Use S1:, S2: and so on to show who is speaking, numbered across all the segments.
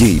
S1: Jej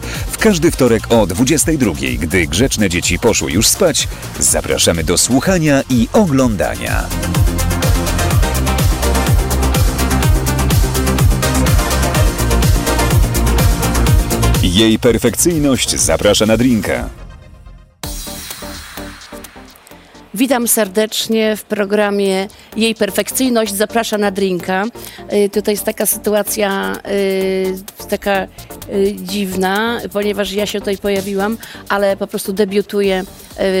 S1: W każdy wtorek o 22, gdy grzeczne dzieci poszły już spać, zapraszamy do słuchania i oglądania. Jej perfekcyjność zaprasza na drinka.
S2: Witam serdecznie w programie Jej Perfekcyjność zaprasza na drinka. Y, Tutaj jest taka sytuacja y, taka y, dziwna, ponieważ ja się tutaj pojawiłam, ale po prostu debiutuję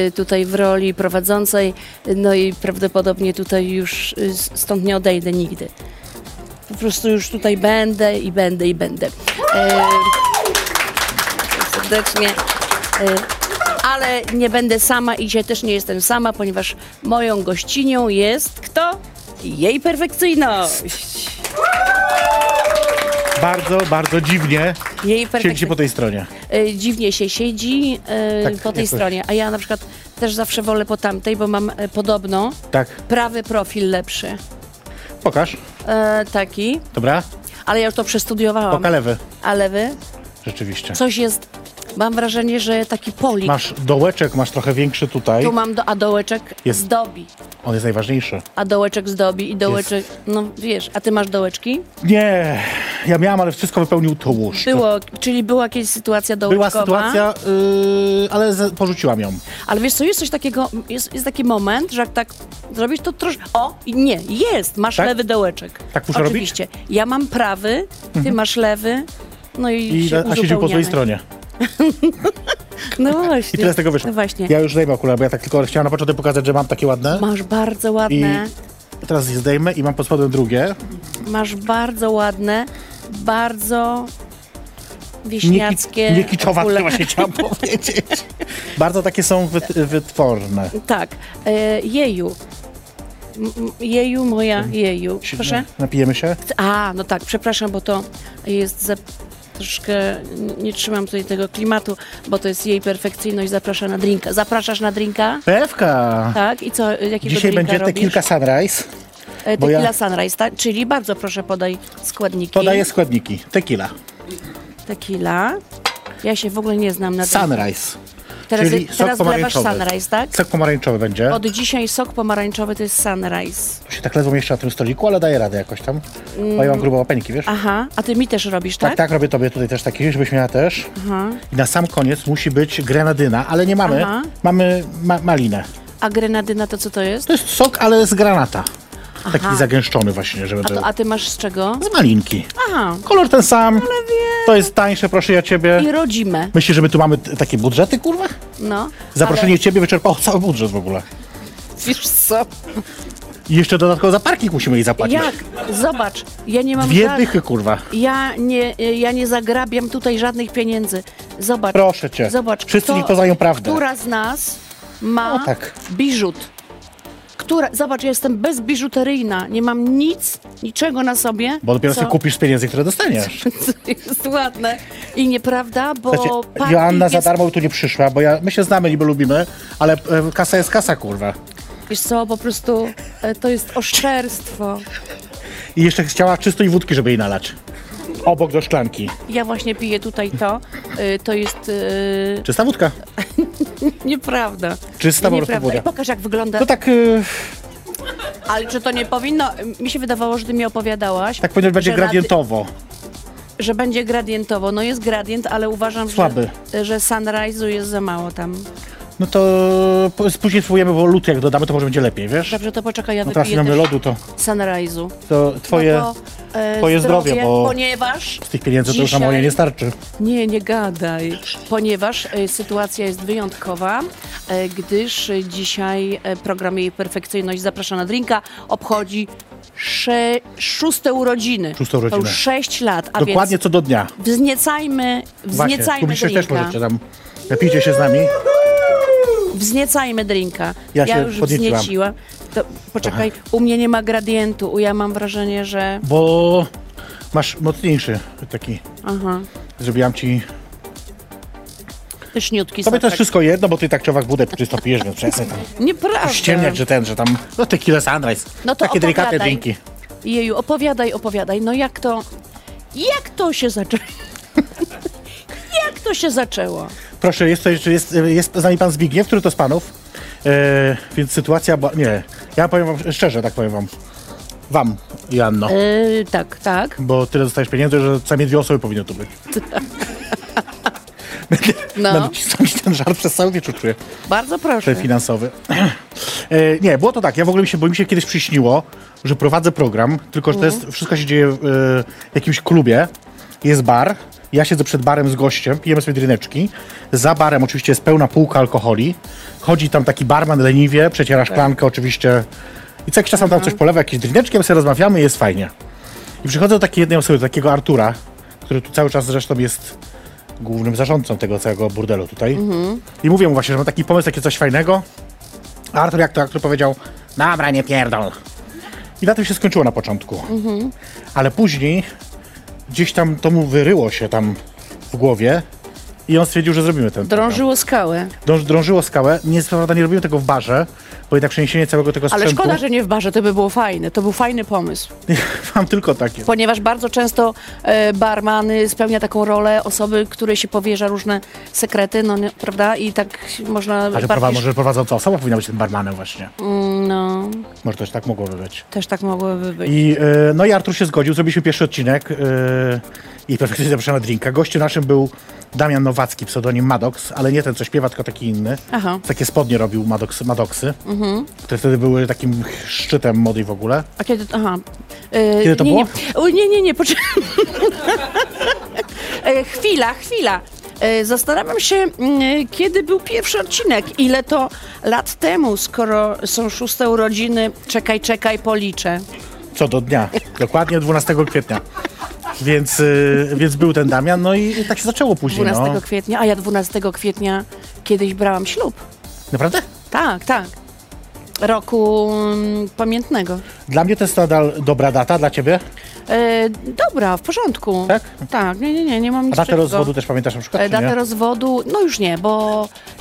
S2: y, tutaj w roli prowadzącej, y, no i prawdopodobnie tutaj już y, s- stąd nie odejdę nigdy. Po prostu już tutaj będę i będę i będę. Y, serdecznie. Y, Ale nie będę sama i dzisiaj też nie jestem sama, ponieważ moją gościnią jest kto? Jej perfekcyjność.
S3: Bardzo, bardzo dziwnie
S2: Jej
S3: siedzi po
S2: perfekcyjność.
S3: tej stronie.
S2: Y, Dziwnie się siedzi y,
S3: Tak,
S2: po tej
S3: jakoś.
S2: stronie, a ja na przykład też zawsze wolę po tamtej, bo mam y, podobno
S3: Tak,
S2: prawy profil lepszy.
S3: pokaż.
S2: Y, taki,
S3: Dobra,
S2: ale ja już to przestudiowałam.
S3: poka lewy.
S2: A lewy?
S3: Rzeczywiście.
S2: Coś jest, mam wrażenie, że taki polik.
S3: Masz dołeczek, masz trochę większy tutaj.
S2: Tu mam, do, a dołeczek
S3: Jest.
S2: zdobi.
S3: On jest najważniejszy.
S2: A dołeczek zdobi i dołeczek. No wiesz, a ty masz dołeczki?
S3: Nie, ja miałam, ale wszystko wypełnił tłuszcz.
S2: Było, czyli była jakaś sytuacja dołeczkowa.
S3: Była sytuacja, yy, ale z, porzuciłam ją.
S2: Ale wiesz co, jest coś takiego, jest, jest taki moment, że jak tak zrobisz, to troszkę... O, i nie, jest, masz
S3: Tak?
S2: lewy dołeczek.
S3: Tak muszę robić? Mhm.
S2: Oczywiście. Ja mam prawy, ty masz lewy, no i,
S3: I,
S2: się
S3: a siedził po
S2: uzupełniamy.
S3: złej stronie.
S2: No właśnie.
S3: I tyle z tego wyszło.
S2: No właśnie.
S3: Ja już zdejmę akurat, bo ja tak tylko chciałam na początek pokazać, że mam takie ładne.
S2: Masz bardzo
S3: I
S2: ładne,
S3: teraz je zdejmę i mam pod spodem drugie.
S2: masz bardzo ładne, bardzo
S3: Nie,
S2: wieśniackie
S3: ki- nie kiczowa,
S2: kule.
S3: właśnie chciałam powiedzieć. Bardzo takie są wyt, wytworne.
S2: Tak, e, jeju. M- m- Jeju, moja jeju. Proszę?
S3: Napijemy się?
S2: A, no tak, przepraszam, bo to jest za... troszkę... n- Nie trzymam tutaj tego klimatu, bo to jest jej perfekcyjność. Zaprasza na drinka. Zapraszasz na drinka?
S3: Pewka!
S2: Tak, i co, jakiego
S3: Dzisiaj
S2: drinka
S3: będzie
S2: robisz?
S3: tequila sunrise.
S2: E,
S3: bo
S2: Tequila
S3: ja-
S2: sunrise, tak? Czyli bardzo proszę podaj składniki.
S3: Podaję składniki. Tequila,
S2: Tequila. Ja się w ogóle nie znam na tym.
S3: sunrise.
S2: Teraz,
S3: czyli sok
S2: teraz wlewasz
S3: pomarańczowy.
S2: sunrise, tak?
S3: Sok pomarańczowy będzie.
S2: Od dzisiaj sok pomarańczowy to jest sunrise.
S3: Tu się tak ledwo mieszczę na tym stoliku, ale daję radę jakoś tam. Bo ja mam grube łapeńki, wiesz?
S2: Mm. Aha, a ty mi też robisz, tak?
S3: Tak, tak, robię tobie tutaj też taki, żebyś miała też.
S2: Aha.
S3: I na sam koniec musi być grenadyna, ale nie mamy.
S2: Aha.
S3: Mamy ma malinę.
S2: A grenadyna to co to jest?
S3: To jest sok, ale z granata. Taki
S2: Aha.
S3: zagęszczony właśnie, żeby
S2: A,
S3: był.
S2: to, a ty masz z czego?
S3: Z malinki.
S2: Aha,
S3: Kolor ten sam. To jest tańsze, proszę ja ciebie.
S2: i rodzime,
S3: Myślisz, że my tu mamy t- takie budżety, kurwa?
S2: no.
S3: Zaproszenie ciebie wyczerpało cały budżet w ogóle.
S2: Ale, wiesz co?
S3: I jeszcze dodatkowo za parking musimy jej zapłacić.
S2: Jak? Zobacz, ja nie mam
S3: Dwie dychy, kurwa.
S2: Ja nie, ja nie zagrabiam tutaj żadnych pieniędzy. Zobacz.
S3: Proszę cię.
S2: Zobacz.
S3: Wszyscy
S2: kto-
S3: niech poznają prawdę.
S2: Która z nas ma
S3: No tak.
S2: biżut? Która, zobacz, ja jestem bezbiżuteryjna, nie mam nic, niczego na sobie.
S3: Bo dopiero
S2: co-
S3: sobie kupisz z pieniędzy, które dostaniesz.
S2: co jest ładne. I nieprawda, bo
S3: Słuchajcie,
S2: parking
S3: Znaczy, Joanna za
S2: jest-
S3: darmo tu nie przyszła, bo ja, my się znamy, niby lubimy, ale e, kasa jest kasa, kurwa.
S2: Wiesz co, po prostu e, to jest oszczerstwo.
S3: I jeszcze chciała czystej wódki, żeby jej nalać. Obok do szklanki.
S2: Ja właśnie piję tutaj to. y, To jest y,
S3: Czysta wódka.
S2: nieprawda.
S3: Czysta po prostu
S2: nieprawda.
S3: woda.
S2: I pokaż jak wygląda.
S3: To tak, e,
S2: Ale czy to nie powinno? Mi się wydawało, że ty mi opowiadałaś.
S3: tak powinno być
S2: że na-
S3: gradientowo.
S2: Że będzie gradientowo. No jest gradient, ale uważam,
S3: Słaby.
S2: że, że sunrise'u jest za mało tam.
S3: No to p- później spróbujemy, bo lód jak dodamy, to może będzie lepiej, wiesz?
S2: Dobrze, to poczekaj, ja
S3: No teraz nie
S2: wypiję
S3: mamy
S2: też
S3: lodu, to,
S2: sunrise'u.
S3: to twoje...
S2: no to, e,
S3: twoje zdrowie, bo-
S2: Ponieważ...
S3: Z tych pieniędzy to już na
S2: Dzisiaj-
S3: moje nie starczy.
S2: Nie, nie gadaj, ponieważ e, sytuacja jest wyjątkowa, e, gdyż e, dzisiaj e, program Jej Perfekcyjność Zaprasza na Drinka obchodzi sze, szóste urodziny.
S3: Szóste urodziny.
S2: To już sześć lat, a
S3: Dokładnie
S2: więc
S3: co do dnia.
S2: wzniecajmy,
S3: Właśnie,
S2: wzniecajmy
S3: tu się
S2: drinka.
S3: też możecie tam. Napijcie się z nami.
S2: Wzniecajmy drinka.
S3: Ja się
S2: już
S3: podnieciłam.
S2: wznieciłam. To, poczekaj, u mnie nie ma gradientu, u ja mam wrażenie, że...
S3: Bo masz mocniejszy taki.
S2: Aha,
S3: Zrobiłam ci.
S2: pyszniutki
S3: Tobie to jest
S2: soczek.
S3: wszystko jedno, bo ty tak czy owak wódę czysto pijesz, więc przestań tam
S2: Nieprawda.
S3: ściemniać, że ten, że tam. No tequila sunrise.
S2: No to
S3: Takie delikatne
S2: opowiadaj.
S3: drinki.
S2: Jeju, opowiadaj, opowiadaj. No jak to... Jak to się zaczęło? jak to się zaczęło?
S3: Proszę, jest, to jeszcze- jest, jest z nami pan Zbigniew, który to z panów. E, więc sytuacja była. Nie, ja powiem wam szczerze, tak powiem wam. Wam, Janno.
S2: Yy, tak, tak.
S3: Bo tyle dostajesz pieniędzy, że co najmniej dwie osoby powinny tu być. Będę,
S2: No.
S3: będę cisnąć ten żart przez cały wieczór czuję.
S2: Bardzo proszę.
S3: Ten finansowy. E, nie, było to tak. Ja w ogóle mi się, bo mi się kiedyś przyśniło, że prowadzę program, tylko że to jest, wszystko się dzieje w e, jakimś klubie. Jest bar, ja siedzę przed barem z gościem, pijemy sobie drineczki. Za barem oczywiście jest pełna półka alkoholi. Chodzi tam taki barman leniwie, przeciera szklankę oczywiście. I co jakiś czas tam coś polewa, jakieś drineczki, my sobie rozmawiamy i jest fajnie. I przychodzę do takiej jednej osoby, do takiego Artura, który tu cały czas zresztą jest głównym zarządcą tego całego burdelu tutaj. I mówię mu właśnie, że mam taki pomysł, takie coś fajnego. A Artur, jak to Artur powiedział, dobra, nie pierdol. I na tym się skończyło na początku. Ale później gdzieś tam to mu wyryło się tam w głowie i on stwierdził, że zrobimy ten program.
S2: Drążyło skałę.
S3: Drąż, drążyło skałę. Nie, co prawda nie robimy tego w barze, bo jednak przeniesienie całego tego
S2: Ale
S3: sprzętu...
S2: szkoda, że nie w barze, to by było fajne. To był fajny pomysł.
S3: Mam tylko takie.
S2: Ponieważ bardzo często e, barman y, spełnia taką rolę osoby, której się powierza różne sekrety, no nie, prawda? I tak można
S3: Ale
S2: bardziej-
S3: prowa- może prowadząca osoba powinna być tym barmanem właśnie.
S2: No,
S3: Może też tak mogłoby być.
S2: też tak mogłoby być.
S3: I, e, no i Artur się zgodził, zrobiliśmy pierwszy odcinek e, i perfekcyjnie zapraszamy na drinka. Gościem naszym był Damian Nowacki, pseudonim Maddox, ale nie ten, co śpiewa, tylko taki inny.
S2: Aha. Mhm.
S3: Takie spodnie robił Maddox, Maddoxy, które wtedy były takim szczytem mody w ogóle.
S2: A kiedy... Aha. E,
S3: Kiedy to
S2: nie,
S3: było?
S2: Nie, o, nie, nie, nie, poczekaj. E, chwila, chwila. E, Zastanawiam się, mm, kiedy był pierwszy odcinek, ile to lat temu, skoro są szóste urodziny, czekaj, czekaj, policzę.
S3: Co do dnia, dokładnie 12 kwietnia. Więc, e, więc był ten Damian, no i tak się zaczęło później.
S2: 12
S3: No.
S2: kwietnia, a ja 12 kwietnia kiedyś brałam ślub.
S3: Naprawdę?
S2: Tak, tak. Roku mm, pamiętnego.
S3: Dla mnie to jest nadal dobra data, dla ciebie?
S2: E, dobra, w porządku.
S3: Tak?
S2: Tak, nie, nie, nie, nie mam nic
S3: A datę
S2: przeciwko.
S3: rozwodu też pamiętasz na przykład?
S2: E,
S3: czy nie?
S2: datę rozwodu, no już nie, bo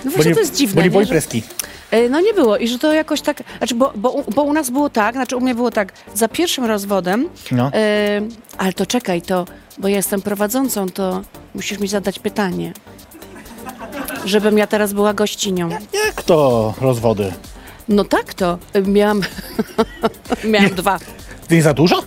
S2: no
S3: Bo
S2: właśnie
S3: nie,
S2: to jest dziwne.
S3: Bo nie było
S2: nie, że,
S3: imprezki.
S2: e, no nie było i że to jakoś tak, znaczy bo, bo, u- bo u nas było tak, znaczy u mnie było tak, za pierwszym rozwodem,
S3: No.
S2: e, ale to czekaj, to, bo ja jestem prowadzącą, to musisz mi zadać pytanie, żebym ja teraz była gościnią.
S3: Jak to rozwody?
S2: No tak to. Miałam, miałam dwa.
S3: To nie za dużo?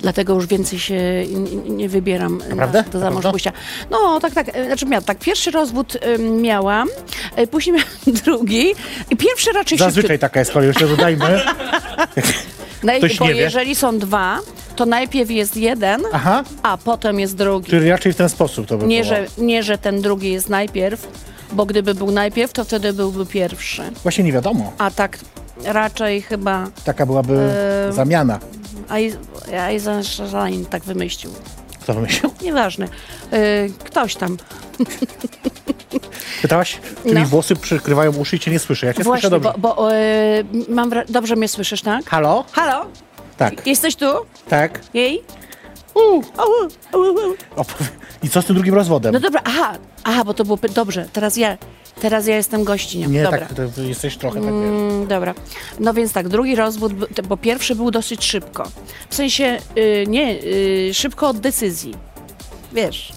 S2: Dlatego już więcej się n- nie wybieram
S3: Naprawdę?
S2: na, do
S3: Na pewno?
S2: zamążpójścia. No tak, tak. E, Znaczy miałam tak. Pierwszy rozwód em, miałam, e, później miałam drugi. I pierwszy raczej
S3: Zazwyczaj taka jest kolej, już się dodajmy.
S2: szybciutko. Naj-
S3: ktoś
S2: bo
S3: nie wie.
S2: jeżeli są dwa, to najpierw jest jeden,
S3: Aha,
S2: a potem jest drugi.
S3: czyli raczej w ten sposób to by
S2: Nie
S3: było.
S2: że, nie, że ten drugi jest najpierw, bo gdyby był najpierw, to wtedy byłby pierwszy.
S3: Właśnie nie wiadomo.
S2: A tak raczej chyba
S3: Taka byłaby zamiana.
S2: Eisenstein tak wymyślił.
S3: Kto wymyślił?
S2: Nieważne. Y, ktoś tam.
S3: Pytałaś? Czyli
S2: No.
S3: włosy przykrywają uszy i cię nie słyszę. Ja cię
S2: Właśnie,
S3: słyszę dobrze.
S2: bo, bo y, mam wra- dobrze mnie słyszysz, tak?
S3: Halo?
S2: Halo?
S3: Tak,
S2: Jesteś tu?
S3: tak.
S2: Jej?
S3: U.
S2: O, u, u, u.
S3: Opow- I co z tym drugim rozwodem?
S2: No dobra, aha, aha, bo to było py- dobrze, teraz ja, teraz ja jestem gościnią.
S3: nie,
S2: dobra.
S3: tak, to ty jesteś trochę tak, wiesz.
S2: Mm, dobra. No więc tak, drugi rozwód, b- te- bo pierwszy był dosyć szybko. W sensie, y, nie, y, szybko od decyzji. Wiesz,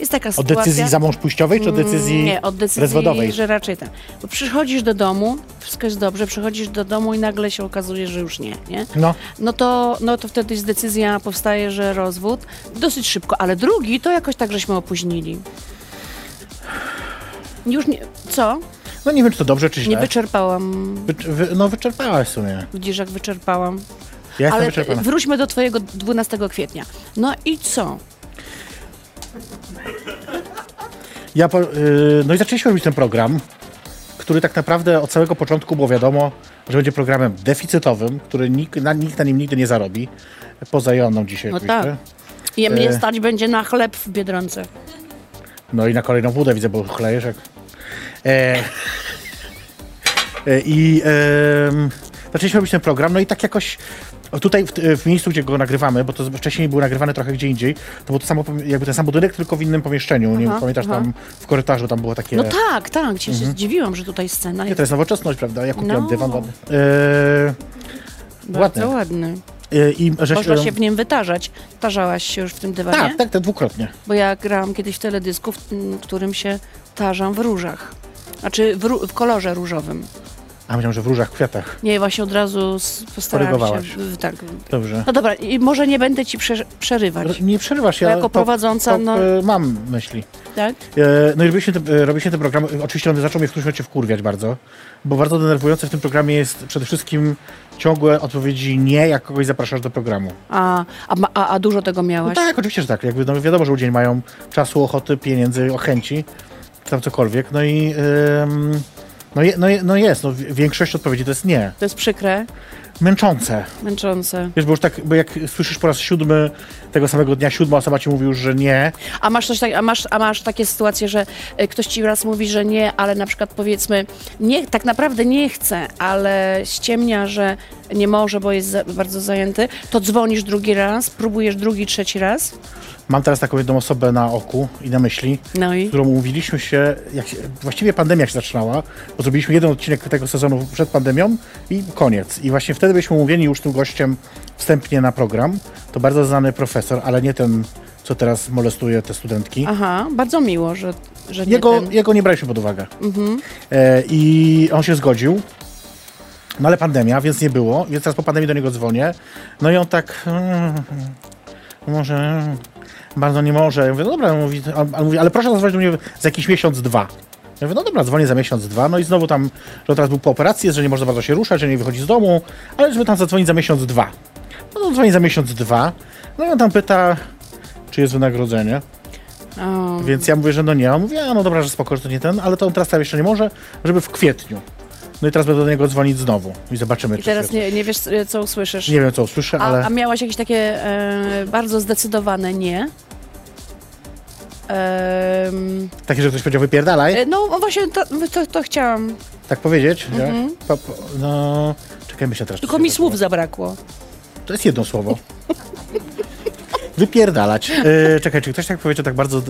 S2: jest taka
S3: Od
S2: sytuacja... Mm,
S3: decyzji za mąż pójściowej, czy od decyzji,
S2: Nie, od decyzji,
S3: rozwodowej?
S2: że raczej tak. Bo przychodzisz do domu, wszystko jest dobrze, przychodzisz do domu i nagle się okazuje, że już nie, nie?
S3: No.
S2: No to, no to wtedy jest decyzja powstaje, że rozwód. Dosyć szybko, ale drugi to jakoś tak żeśmy opóźnili. Już nie, co?
S3: No nie wiem, czy to dobrze, czy
S2: Nie
S3: źle.
S2: wyczerpałam,
S3: Wycz- wy- no wyczerpałaś w sumie.
S2: widzisz jak wyczerpałam.
S3: Ja jestem
S2: Ale
S3: wyczerpana.
S2: wróćmy do twojego 12 kwietnia. No i co?
S3: Ja po, y, no i zaczęliśmy robić ten program, który tak naprawdę od samego początku było wiadomo, że będzie programem deficytowym, który nikt na, nikt na nim nigdy nie zarobi. Poza Joanną dzisiaj
S2: No
S3: oczywiście.
S2: tak. Je mnie
S3: E.
S2: stać będzie na chleb w Biedronce.
S3: No i na kolejną wódę widzę, bo chlejesz jak... E, E, I em, zaczęliśmy robić ten program, no i tak jakoś o, tutaj w, w miejscu, gdzie go nagrywamy, bo to z- wcześniej był nagrywany trochę gdzie indziej, to był to samo, pom- jakby ten sam budynek, tylko w innym pomieszczeniu. Nie wiem,
S2: Aha,
S3: pamiętasz
S2: aha.
S3: tam w korytarzu tam było takie.
S2: No tak, tak, się się zdziwiłam, że tutaj scena
S3: Nie,
S2: jest
S3: E. Mhm. to jest nowoczesność, prawda? Ja kupiłam
S2: No.
S3: dywan ładny. E,
S2: bardzo
S3: ładny.
S2: ładny.
S3: E, I że,
S2: Można się w nim wytarzać. Tarzałaś się już w tym dywanie?
S3: Tak, tak, to dwukrotnie.
S2: Bo ja grałam kiedyś w teledysku, w m, którym się tarzam w różach. Znaczy w, ró- w kolorze różowym.
S3: A myślałem, że w różach, kwiatach.
S2: Nie, właśnie od razu s- postarałam
S3: Korygowałaś.
S2: się. w- Tak.
S3: Dobrze.
S2: No dobra, i może nie będę ci prze- przerywać,
S3: Nie przerywasz, ja
S2: Tak. Bo jako
S3: to-
S2: prowadząca,
S3: to,
S2: no-
S3: e, mam myśli.
S2: tak?
S3: E, No i robiliśmy ten, e, robiliśmy ten program. E, Oczywiście on zaczął mnie w którymś momencie wkurwiać bardzo, bo bardzo denerwujące w tym programie jest przede wszystkim ciągłe odpowiedzi nie, jak kogoś zapraszasz do programu.
S2: A, a, ma- a, a dużo tego
S3: No
S2: miałaś?
S3: tak, oczywiście, że tak. Jakby, no wiadomo, że ludzie nie mają czasu, ochoty, pieniędzy, o chęci, czy tam cokolwiek. No i ym, no, je, no, je, no jest, no, wi- większość odpowiedzi to jest nie.
S2: To jest przykre,
S3: Męczące.
S2: męczące.
S3: Wiesz, bo już tak, bo jak słyszysz po raz siódmy tego samego dnia, siódma osoba ci mówi już, że nie,
S2: A masz, coś tak, a, masz, a masz takie sytuacje, że e, ktoś ci raz mówi, że nie, ale na przykład powiedzmy, nie, tak naprawdę nie chce, ale ściemnia, że nie może, bo jest za, bardzo zajęty, to dzwonisz drugi raz, próbujesz drugi, trzeci raz.
S3: mam teraz taką jedną osobę na oku i na myśli,
S2: No i?
S3: z którą umówiliśmy się, jak się, właściwie pandemia się zaczynała, bo zrobiliśmy jeden odcinek tego sezonu przed pandemią i koniec. I właśnie wtedy byliśmy umówieni już tym gościem wstępnie na program. To bardzo znany profesor, ale nie ten, co teraz molestuje te studentki.
S2: Aha, bardzo miło, że, że nie
S3: Jego,
S2: ten.
S3: jego nie braliśmy pod uwagę. E, I on się zgodził. No ale pandemia, więc nie było. Więc teraz po pandemii do niego dzwonię. No i on tak... Mm, może... mm, Bardzo nie może. Ja mówię, no dobra, mówi, a, a mówi, ale proszę zadzwonić do mnie za jakiś miesiąc, dwa. Ja mówię, no dobra, dzwonię za miesiąc, dwa. No i znowu tam, że teraz był po operacji, jest, że nie można bardzo się ruszać, że nie wychodzi z domu, ale żeby tam zadzwonić za miesiąc, dwa. No to dzwoni za miesiąc, dwa. No i on tam pyta, czy jest wynagrodzenie.
S2: O,
S3: Więc ja mówię, że no nie. A on mówi, a no dobra, że spoko, że to nie ten, ale to on teraz tam jeszcze nie może, żeby w kwietniu. No i teraz będę do niego dzwonić znowu i zobaczymy,
S2: I
S3: czy
S2: teraz
S3: się...
S2: nie, nie wiesz, e, co usłyszysz.
S3: nie wiem, co usłyszę,
S2: a,
S3: ale
S2: a miałaś jakieś takie e, bardzo zdecydowane nie? Em,
S3: takie, że ktoś powiedział wypierdalaj,
S2: e, no właśnie, to, to, to chciałam.
S3: tak powiedzieć, nie? Po, po, no... Czekaj, myślę teraz. czy
S2: Mhm. Tylko
S3: się
S2: mi
S3: to-
S2: słów zabrakło.
S3: To jest jedno słowo. Wypierdalać. E, czekaj, czy ktoś tak powiedział tak bardzo... E,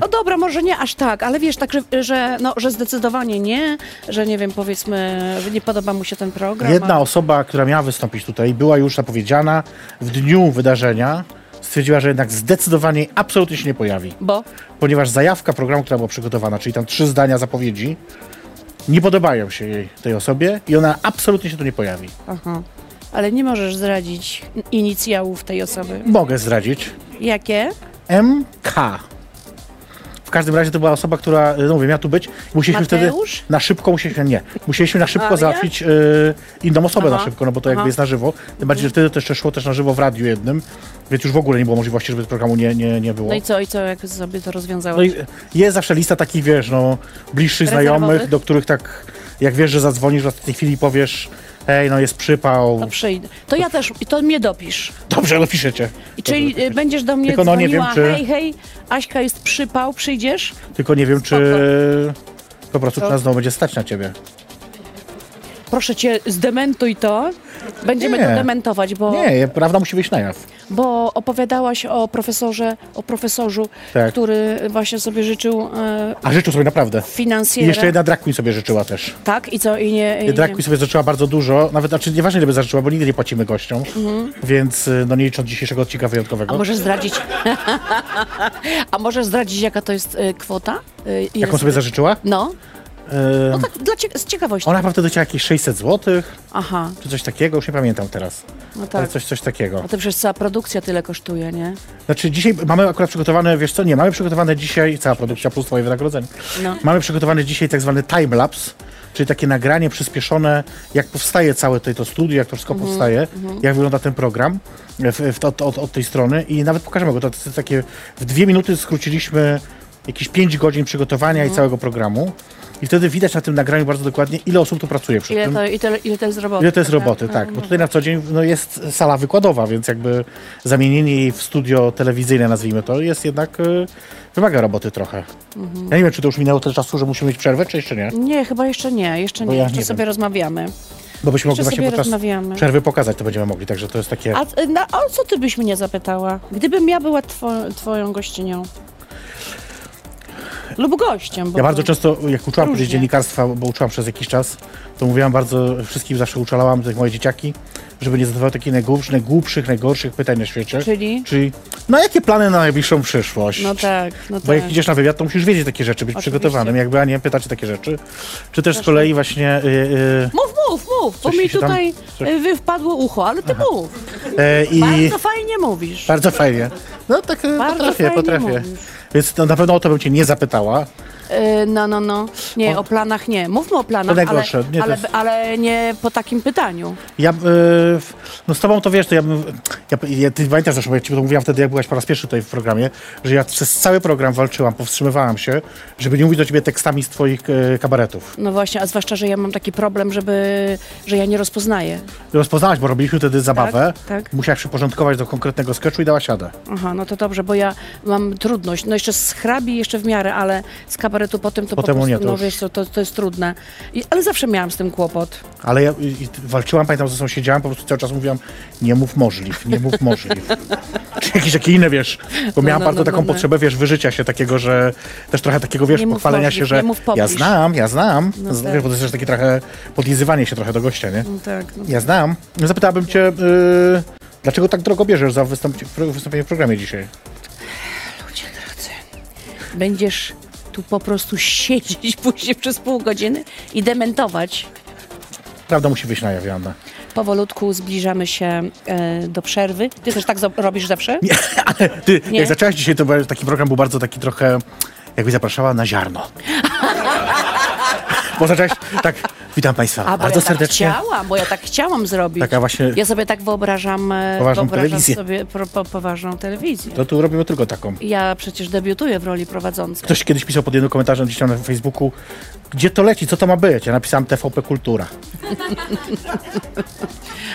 S2: No dobra, może nie aż tak, ale wiesz, tak, że, że, no, że zdecydowanie nie, że nie wiem, powiedzmy, że nie podoba mu się ten program.
S3: Jedna
S2: a-
S3: osoba, która miała wystąpić tutaj, była już zapowiedziana w dniu wydarzenia, stwierdziła, że jednak zdecydowanie absolutnie się nie pojawi.
S2: Bo?
S3: ponieważ zajawka programu, która była przygotowana, czyli tam trzy zdania zapowiedzi, nie podobają się jej, tej osobie i ona absolutnie się tu nie pojawi.
S2: Aha. Ale nie możesz zdradzić inicjałów tej osoby.
S3: Mogę zdradzić.
S2: Jakie?
S3: MK. W każdym razie to była osoba, która, y, no mówię, miała tu być. Musieliśmy
S2: Mateusz?
S3: wtedy na szybko, musieliśmy, nie, musieliśmy na szybko
S2: Maria?
S3: załatwić y, inną osobę
S2: Aha.
S3: na szybko, no bo to jakby
S2: Aha.
S3: jest na żywo. Tym bardziej, że wtedy to jeszcze szło też na żywo w radiu jednym, więc już w ogóle nie było możliwości, żeby programu nie, nie, nie było.
S2: No i co, i co, jak sobie to
S3: No
S2: rozwiązałeś?
S3: i jest zawsze lista takich, wiesz, no, bliższych
S2: Rezerwowych?
S3: znajomych, do których tak, jak wiesz, że zadzwonisz w ostatniej chwili i powiesz, hej, no jest przypał.
S2: To przyjdę. To ja też, i to mnie dopisz.
S3: Dobrze, no piszecie.
S2: I czyli y, będziesz do mnie
S3: Tylko no nie wiem,
S2: dzwoniła,
S3: czy-
S2: hej, hej, Aśka jest przypał, przyjdziesz?
S3: Tylko nie wiem, czy po prostu czy nas znowu będzie stać na ciebie.
S2: Proszę cię, zdementuj to. Będziemy
S3: Nie.
S2: to dementować, bo...
S3: Nie, je- prawda musi wyjść na jaw.
S2: bo opowiadałaś o profesorze, o profesorzu,
S3: Tak.
S2: który właśnie sobie życzył e,
S3: A życzył sobie naprawdę. I
S2: finansjera.
S3: jeszcze jedna drag queen sobie życzyła też.
S2: Tak, i co, i nie... I
S3: Drag
S2: nie.
S3: queen sobie zaczęła bardzo dużo, nawet, znaczy nieważne ile by zażyczyła, bo nigdy nie płacimy gościom, więc y, no nie licząc dzisiejszego odcinka
S2: Mhm. A
S3: wyjątkowego.
S2: możesz zdradzić... A możesz zdradzić, jaka to jest e, kwota? E, ile
S3: Jaką sobie zażyczyła?
S2: No,
S3: Ym,
S2: no tak, dla cie... z ciekawości.
S3: Ona chyba wtedy chciała jakieś 600 złotych.
S2: Aha,
S3: czy coś takiego, już nie pamiętam teraz.
S2: no
S3: Ale
S2: tak.
S3: coś, coś takiego.
S2: A to przecież cała produkcja tyle kosztuje, nie?
S3: Znaczy dzisiaj mamy akurat przygotowane, wiesz co, nie, mamy przygotowane dzisiaj, cała produkcja plus twoje wynagrodzenie.
S2: No.
S3: Mamy przygotowany dzisiaj tak zwany timelapse, czyli takie nagranie przyspieszone, jak powstaje całe to, to studio, jak to wszystko
S2: Mhm,
S3: powstaje, jak wygląda ten program e, w, w, od, od, od tej strony i nawet pokażemy go. To, jest
S2: Mhm.
S3: takie, w dwie minuty skróciliśmy jakieś pięć godzin przygotowania i całego programu. I wtedy widać na tym nagraniu bardzo dokładnie, ile osób tu pracuje przy
S2: Ile
S3: tym.
S2: to, ile, to- ile to jest roboty?
S3: Ile to jest
S2: prawda?
S3: roboty, tak. Bo tutaj na co dzień no, jest sala wykładowa, więc jakby zamienienie jej w studio telewizyjne, nazwijmy to, jest jednak, y, wymaga roboty trochę. Ja nie wiem, czy to już minęło tyle czasu, że musimy mieć przerwę, czy jeszcze nie?
S2: Nie, chyba jeszcze nie, jeszcze
S3: Bo
S2: nie,
S3: ja
S2: jeszcze
S3: nie
S2: sobie
S3: wiem.
S2: rozmawiamy.
S3: Bo byśmy mogli
S2: Jeszcze
S3: właśnie
S2: sobie
S3: podczas
S2: rozmawiamy.
S3: przerwy pokazać, to będziemy mogli, także to jest takie...
S2: A y, na, o co ty byś mnie zapytała? Gdybym ja była two, twoją gościnią. Lub gościem. Bo
S3: Ja bardzo często, jak uczyłam
S2: Różnie.
S3: kiedyś dziennikarstwa, bo uczyłam przez jakiś czas, to mówiłam bardzo, wszystkim zawsze uczalałam, tych moje dzieciaki, żeby nie zadawały takich najgłupszych, najgłupszych, najgorszych pytań na świecie.
S2: Czyli?
S3: Czyli, no jakie plany na najbliższą przyszłość?
S2: No tak, no
S3: Bo
S2: tak.
S3: jak idziesz na wywiad, to musisz wiedzieć takie rzeczy, być
S2: Oczywiście. tak.
S3: przygotowanym, jakby, a nie pytać o takie rzeczy. Czy też z kolei właśnie y, y,
S2: Mów, mów, mów, bo
S3: Coś
S2: mi
S3: ci się tam-
S2: tutaj
S3: coś-
S2: y, wy- wpadło ucho, ale ty mów.
S3: e, i... Tak.
S2: Bardzo fajnie mówisz.
S3: Bardzo fajnie. No tak e,
S2: Bardzo
S3: potrafię,
S2: fajnie
S3: potrafię.
S2: mówisz.
S3: Więc no, na pewno o to bym cię nie zapytała.
S2: Y, No, no, no. Nie, o, planach nie. Mówmy o planach,
S3: To
S2: ale,
S3: najgorsze. Nie, to
S2: ale,
S3: jest-
S2: ale nie po takim pytaniu.
S3: Ja, y, no z tobą to wiesz, to ja bym, ja, ja, ty pamiętasz zresztą, bo ja ci to mówiłam wtedy, jak byłaś po raz pierwszy tutaj w programie, że ja przez cały program walczyłam, powstrzymywałam się, żeby nie mówić do ciebie tekstami z twoich e, kabaretów.
S2: No właśnie, a zwłaszcza, że ja mam taki problem, żeby, że ja nie rozpoznaję.
S3: Rozpoznałaś, bo robiliśmy wtedy zabawę,
S2: tak.
S3: musiałaś przyporządkować do konkretnego sketchu i dała siadę.
S2: Aha, no to dobrze, bo ja mam trudność. No jeszcze z hrabi jeszcze w miarę, ale z kabaretu potem to
S3: Potem
S2: po prostu,
S3: nie, to
S2: no
S3: już-
S2: wiesz co, to, to jest trudne. I, ale zawsze miałam z tym kłopot.
S3: Ale ja i, i walczyłam, pamiętam, ze sobą siedziałam, po prostu cały czas mówiłam, nie mów możliw, nie mów możliw. Czy jakieś takie inne, wiesz, bo miałam
S2: no,
S3: bardzo
S2: no,
S3: taką
S2: no, no.
S3: potrzebę, wiesz, wyżycia się takiego, że też trochę takiego, wiesz,
S2: Nie mów
S3: pochwalenia się,
S2: możliw,
S3: że
S2: nie mów
S3: ja
S2: pobliż.
S3: znam, ja znam, Z-
S2: tak.
S3: wiesz, bo to jest też takie trochę podlizywanie się trochę do gościa, nie?
S2: No tak, no.
S3: Ja znam. Zapytałabym cię, yy, dlaczego tak drogo bierzesz za wystąp- w- wystąpienie w programie dzisiaj?
S2: Ludzie drodzy, będziesz tu po prostu siedzieć później przez pół godziny i dementować.
S3: Prawda musi wyjść na jaw, Joanna.
S2: Powolutku zbliżamy się e, do przerwy. Ty też tak zo- robisz zawsze?
S3: Nie, ale ty,
S2: Nie?
S3: jak zaczęłaś dzisiaj, to był- taki program był bardzo taki trochę, jakby zapraszała na ziarno. Bo zaczęłaś tak, witam Państwa
S2: A, bo
S3: bardzo
S2: ja
S3: serdecznie.
S2: Tak chciałam, bo ja tak chciałam zrobić.
S3: Taka właśnie-
S2: Ja sobie tak wyobrażam, e,
S3: Poważną
S2: wyobrażam
S3: telewizję.
S2: sobie pro, po, poważną telewizję.
S3: to tu robimy tylko taką.
S2: Ja przecież debiutuję w roli prowadzącej.
S3: Ktoś kiedyś pisał pod jednym komentarzem gdzieś tam na Facebooku, gdzie to leci, co to ma być? Ja napisałem TVP Kultura.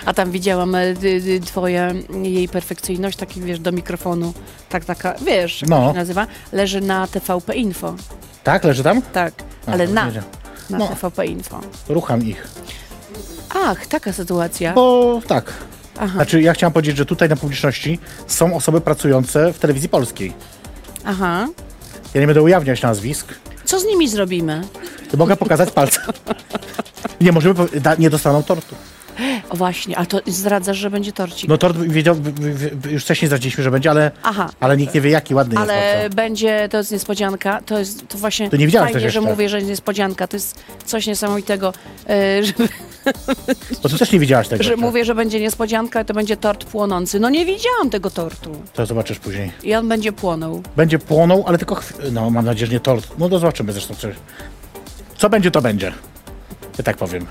S2: A tam widziałam e, d- d- twoje, jej perfekcyjność, taki wiesz, do mikrofonu, tak taka, wiesz, jak
S3: No.
S2: to się nazywa, leży na TVP Info,
S3: Tak, leży tam?
S2: tak,
S3: A,
S2: ale
S3: to
S2: na,
S3: wiedziałem.
S2: na
S3: No.
S2: TVP Info.
S3: Rucham ich.
S2: Ach, taka sytuacja.
S3: Bo tak.
S2: Aha.
S3: Znaczy, ja chciałam powiedzieć, że tutaj na publiczności są osoby pracujące w telewizji polskiej.
S2: Aha.
S3: Ja nie będę ujawniać nazwisk.
S2: Co z nimi zrobimy?
S3: Mogę pokazać palce. Nie, możemy, powie- da, nie dostaną tortu.
S2: O właśnie, a to zdradzasz, że będzie torcik.
S3: No tort wiedział, w- w- w- już wcześniej zdradziliśmy, że będzie, ale,
S2: Aha.
S3: ale nikt nie wie jaki ładny jest.
S2: Ale
S3: bardzo.
S2: będzie, to jest niespodzianka, to jest to właśnie
S3: To nie widziałem
S2: fajnie,
S3: też
S2: że
S3: jeszcze.
S2: mówię, że jest niespodzianka, to jest coś niesamowitego, e, że,
S3: Bo ty też nie widziałaś tego.
S2: że
S3: jeszcze.
S2: mówię, że będzie niespodzianka, to będzie tort płonący. No nie widziałam tego tortu
S3: To zobaczysz później.
S2: i on będzie płonął.
S3: Będzie płonął, ale tylko chw... No mam nadzieję, że nie tort. No to zobaczymy zresztą. Co, co będzie, to będzie. Ja tak powiem.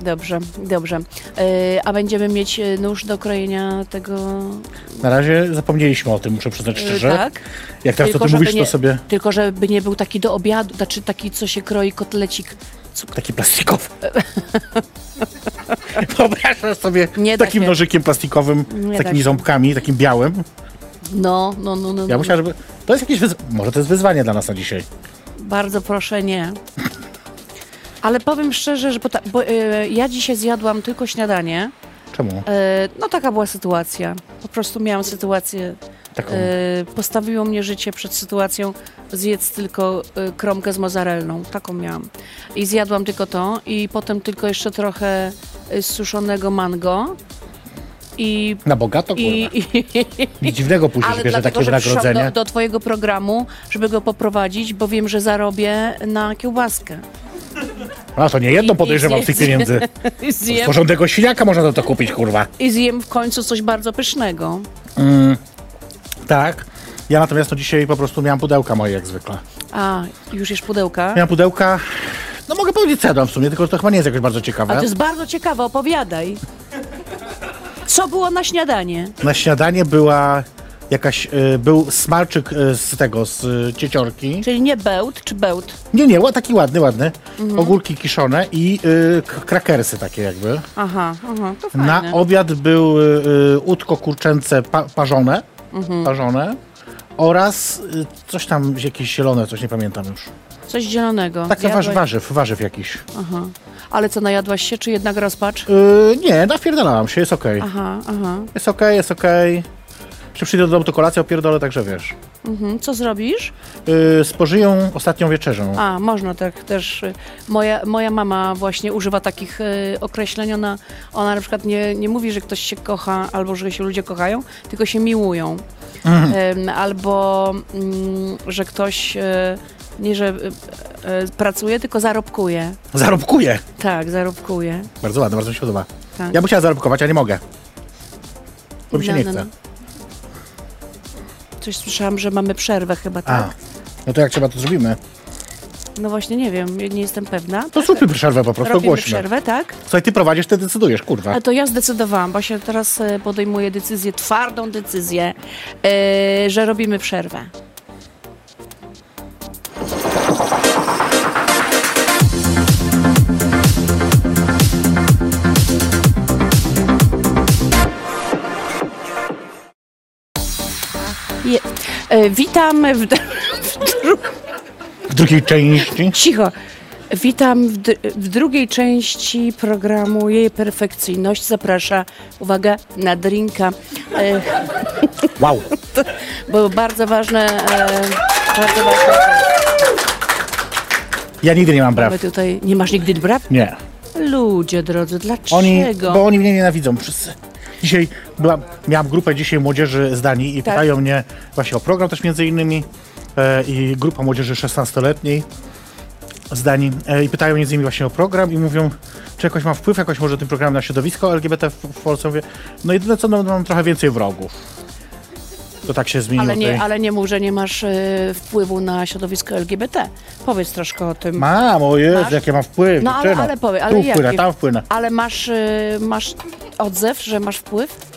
S2: Dobrze, dobrze. E, a będziemy mieć e, nóż do krojenia tego...
S3: Na razie zapomnieliśmy o tym, muszę przyznać
S2: e,
S3: szczerze.
S2: tak?
S3: Jak teraz to ty
S2: żeby
S3: mówisz,
S2: nie,
S3: to sobie
S2: Tylko żeby nie był taki do obiadu, znaczy taki, co się kroi kotlecik. cuk-
S3: taki plastikowy. Wyobrażasz sobie
S2: Nie
S3: z
S2: da
S3: takim
S2: się.
S3: nożykiem plastikowym,
S2: Nie
S3: z
S2: da
S3: takimi
S2: się.
S3: ząbkami, takim białym.
S2: No, no, no, no.
S3: Ja
S2: no.
S3: myślałem, żeby... To jest jakieś... Wyz... Może to jest wyzwanie dla nas na dzisiaj.
S2: Bardzo proszę, nie. Ale powiem szczerze, że pota- bo, e, ja dzisiaj zjadłam tylko śniadanie.
S3: Czemu?
S2: E, no taka była sytuacja. Po prostu miałam sytuację.
S3: Taką...
S2: E, postawiło mnie życie przed sytuacją zjedz tylko e, kromkę z mozzarellą. Taką miałam. I zjadłam tylko to i potem tylko jeszcze trochę e, suszonego mango. I...
S3: Na bogato, kurwa.
S2: I, i,
S3: Nic dziwnego później, że
S2: Ale
S3: bierze
S2: dlatego,
S3: takie
S2: że przyszłam do,
S3: wynagrodzenie.
S2: do twojego programu, żeby go poprowadzić, bo wiem, że zarobię na kiełbaskę.
S3: A to nie jedno
S2: i- i
S3: podejrzewam z tych
S2: zjedz-
S3: pieniędzy.
S2: I zjem,
S3: Porządnego siniaka można za to kupić, kurwa.
S2: I zjem w końcu coś bardzo pysznego.
S3: Tak. Ja natomiast to dzisiaj po prostu miałam pudełka moje, jak zwykle.
S2: A, już jesz pudełka?
S3: Miałam pudełka... No mogę powiedzieć, co jadłam w sumie, tylko że to chyba nie jest jakoś bardzo
S2: A
S3: ciekawe.
S2: to jest bardzo ciekawe, opowiadaj. Co było na śniadanie?
S3: Na śniadanie była jakaś, y, był smalczyk y, z tego, z y, cieciorki.
S2: Czyli nie bełt, czy bełt?
S3: Nie, nie, ła- taki ładny, ładny.
S2: Mhm.
S3: Ogórki kiszone i y, k- krakersy takie jakby.
S2: Aha, aha, to fajne.
S3: Na obiad był y, y, udko kurczęce pa, parzone,
S2: Mhm.
S3: parzone oraz y, coś tam, jakieś zielone, coś nie pamiętam już.
S2: Coś zielonego.
S3: Takie
S2: Jadłeś-
S3: warz, warzyw, warzyw jakiś.
S2: Aha. Ale co, najadłaś się, czy jednak rozpacz?
S3: Y, nie, napierdalałam się, jest okej.
S2: Aha, aha.
S3: Jest okej, jest okej. Czy przyjdę do domu, to kolację opierdolę, także wiesz.
S2: Mhm. Co zrobisz?
S3: Y, spożyję ostatnią wieczerzą.
S2: A, można tak też. y, Moja, moja mama właśnie używa takich y, określeń. Ona, ona na przykład nie, nie mówi, że ktoś się kocha albo że się ludzie kochają, tylko się miłują. Ym, albo mm, że ktoś y, nie, że y, y, pracuje, tylko zarobkuje.
S3: Zarobkuję!
S2: Tak, zarobkuje.
S3: Bardzo ładne, bardzo mi się podoba.
S2: Tak.
S3: Ja bym chciała zarobkować, a nie mogę. Bo mi się
S2: No,
S3: nie
S2: no,
S3: chce.
S2: no. Coś słyszałam, że mamy przerwę chyba,
S3: A,
S2: tak?
S3: no to jak trzeba, to zrobimy.
S2: No właśnie, nie wiem, nie jestem pewna.
S3: To zróbmy przerwę po prostu,
S2: Tak. Robimy
S3: ogłośmy.
S2: przerwę, tak?
S3: Słuchaj, ty prowadzisz, ty decydujesz, kurwa.
S2: A to ja zdecydowałam, bo się teraz e, podejmuję decyzję, twardą decyzję, e, że robimy przerwę. Je, e, witam w,
S3: W drugiej części.
S2: Cicho. Witam w, d- w drugiej części programu Jej Perfekcyjność. Zaprasza, uwaga, na drinka, e,
S3: Wow.
S2: bo bardzo ważne, e, bardzo ważne
S3: Ja nigdy nie mam braw.
S2: sprawy tutaj. Nie masz nigdy braw?
S3: Nie.
S2: Ludzie drodzy, dlaczego?
S3: Oni, bo oni mnie nienawidzą wszyscy. Dzisiaj była, miałam grupę dzisiaj młodzieży z Danii i
S2: Tak.
S3: pytają mnie właśnie o program też między innymi e, i grupa młodzieży 16-letniej z Danii e, i pytają między innymi właśnie o program i mówią, czy jakoś ma wpływ jakoś może tym programem na środowisko LGBT w w Polsce. Mówię, no jedyne co, no, mam trochę więcej wrogów. To tak się zmieniło.
S2: ale,
S3: tutaj.
S2: nie, ale nie mów, że nie masz e, wpływu na środowisko LGBT. Powiedz troszkę o tym.
S3: Mam, o Jezu,
S2: Masz?
S3: jakie mam wpływ.
S2: No, ale-
S3: dziewczyno.
S2: ale powie- ale
S3: tu wpłynę,
S2: jaki?
S3: tam wpłynę.
S2: Ale masz, e, masz odzew, że masz wpływ?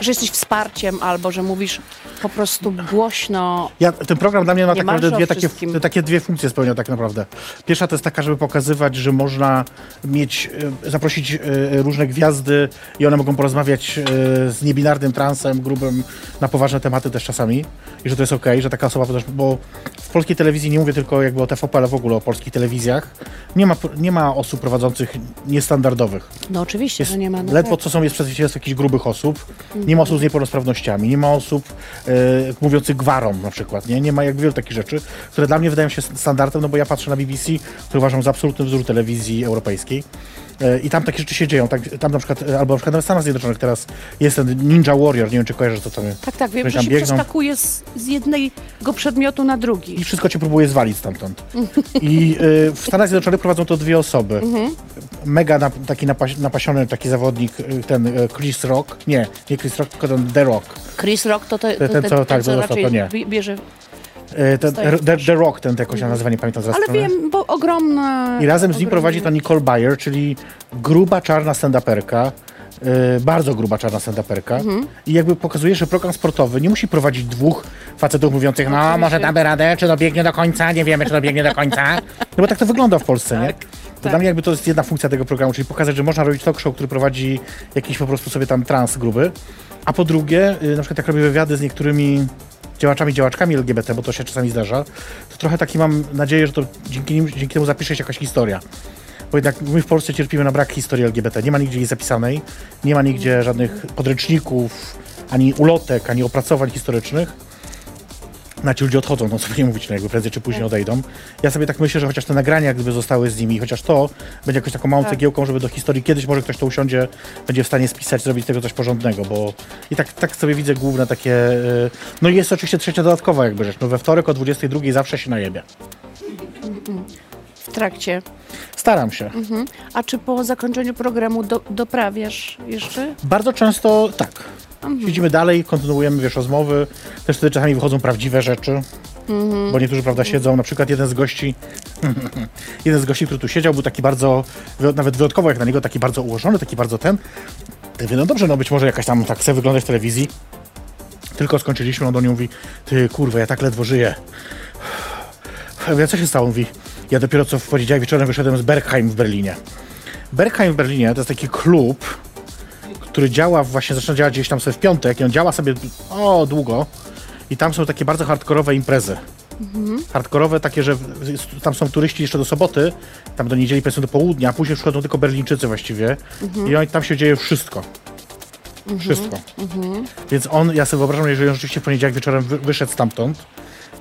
S2: Że jesteś wsparciem albo że mówisz po prostu głośno
S3: Ja, ten program dla mnie ma tak
S2: masz
S3: naprawdę
S2: o
S3: dwie takie,
S2: wszystkim.
S3: takie dwie funkcje spełnia tak naprawdę. Pierwsza to jest taka, żeby pokazywać, że można mieć, e, zaprosić e, różne gwiazdy i one mogą porozmawiać e, z niebinarnym transem, grubym, na poważne tematy też czasami i że to jest okej, że taka osoba też, bo w polskiej telewizji, nie mówię tylko jakby o TVP, ale w ogóle o polskich telewizjach, nie ma, nie ma osób prowadzących niestandardowych.
S2: No oczywiście,
S3: Jest,
S2: że nie ma. No
S3: ledwo
S2: tak.
S3: co są jest przedstawicielstwo jakichś grubych osób. Nie ma osób z niepełnosprawnościami, nie ma osób e, mówiących gwarą na przykład. Nie? nie ma jak wielu takich rzeczy, które dla mnie wydają się standardem, no bo ja patrzę na BBC, które uważam za absolutny wzór telewizji europejskiej. E, I tam takie rzeczy się dzieją. Tak, tam na przykład, e, albo na przykład nawet w Stanach Zjednoczonych teraz jest ten Ninja Warrior, nie wiem czy kojarzysz co tam jest.
S2: Tak, tak, wiem,
S3: Oni
S2: że
S3: tam
S2: się
S3: biegną.
S2: przeskakuje z, z jednego przedmiotu na drugi.
S3: I wszystko cię próbuje zwalić stamtąd. I e, w Stanach Zjednoczonych prowadzą to dwie osoby. Mega nap, taki napas, napasiony taki zawodnik, e, ten e, Chris Rock. Nie, nie Chris Rock, tylko ten The Rock.
S2: Chris Rock to, to, to,
S3: ten, co- tak, to
S2: raczej
S3: to nie.
S2: bi- bierze.
S3: E, Ten,
S2: Stoję w
S3: The, The Rock, ten jakoś na nazwanie, pamiętam zaraz.
S2: Ale wiem, bo ogromna.
S3: I razem z nim
S2: ogromna-
S3: prowadzi to Nicole Bayer, czyli gruba, czarna stand-uperka. e, bardzo gruba czarna stand-uperka. I jakby pokazuje, że program sportowy nie musi prowadzić dwóch facetów mówiących, no może damy radę, czy dobiegnie do końca, nie wiemy, czy dobiegnie do końca. No bo tak to wygląda w Polsce, nie? To dla mnie jakby to jest jedna funkcja tego programu, czyli pokazać, że można robić talk show, który prowadzi jakiś po prostu sobie tam trans gruby. A po drugie, y, na przykład jak robię wywiady z niektórymi działaczami, działaczkami LGBT, bo to się czasami zdarza, to trochę taki mam nadzieję, że to dzięki, nim, dzięki temu zapisze się jakaś historia. Bo jednak my w Polsce cierpimy na brak historii LGBT. Nie ma nigdzie jej zapisanej, nie ma nigdzie żadnych podręczników, ani ulotek, ani opracowań historycznych. Na ci ludzie odchodzą, no co by nie mówić, no jakby prędzej czy później odejdą. Ja sobie tak myślę, że chociaż te nagrania jak gdyby zostały z nimi, chociaż to będzie jakąś taką małą cegiełką, żeby do historii kiedyś może ktoś to usiądzie, będzie w stanie spisać, zrobić z tego coś porządnego, bo i tak, tak sobie widzę główne takie... y, No i jest oczywiście trzecia dodatkowa jakby rzecz, no we wtorek o 22 zawsze się najebie.
S2: W trakcie.
S3: Staram się.
S2: A czy po zakończeniu programu do, doprawiasz jeszcze?
S3: Bardzo często tak. Siedzimy dalej, kontynuujemy wiesz, rozmowy. Też wtedy czasami wychodzą prawdziwe rzeczy. Bo niektórzy, prawda, siedzą. Na przykład jeden z gości, jeden z gości, który tu siedział, był taki bardzo, wy- nawet wyjątkowo jak na niego, taki bardzo ułożony, taki bardzo ten. Ja mówię, no dobrze, no być może jakaś tam tak chce wyglądać w telewizji. Tylko skończyliśmy, on do niej mówi, ty kurwa, ja tak ledwo żyję. Ja mówię, co się stało? Mówi, ja dopiero co w poniedziałek wieczorem wyszedłem z Bergheim w Berlinie. Bergheim w Berlinie to jest taki klub, który działa właśnie, zaczyna działać gdzieś tam sobie w piątek i on działa sobie o długo i tam są takie bardzo hardkorowe imprezy. Hardkorowe takie, że w- tam są turyści jeszcze do soboty, tam do niedzieli powiedzmy do południa, a później przychodzą tylko Berlińczycy właściwie i oni, tam się dzieje wszystko. Wszystko. Więc on, ja sobie wyobrażam, jeżeli on rzeczywiście w poniedziałek wieczorem wy, wyszedł stamtąd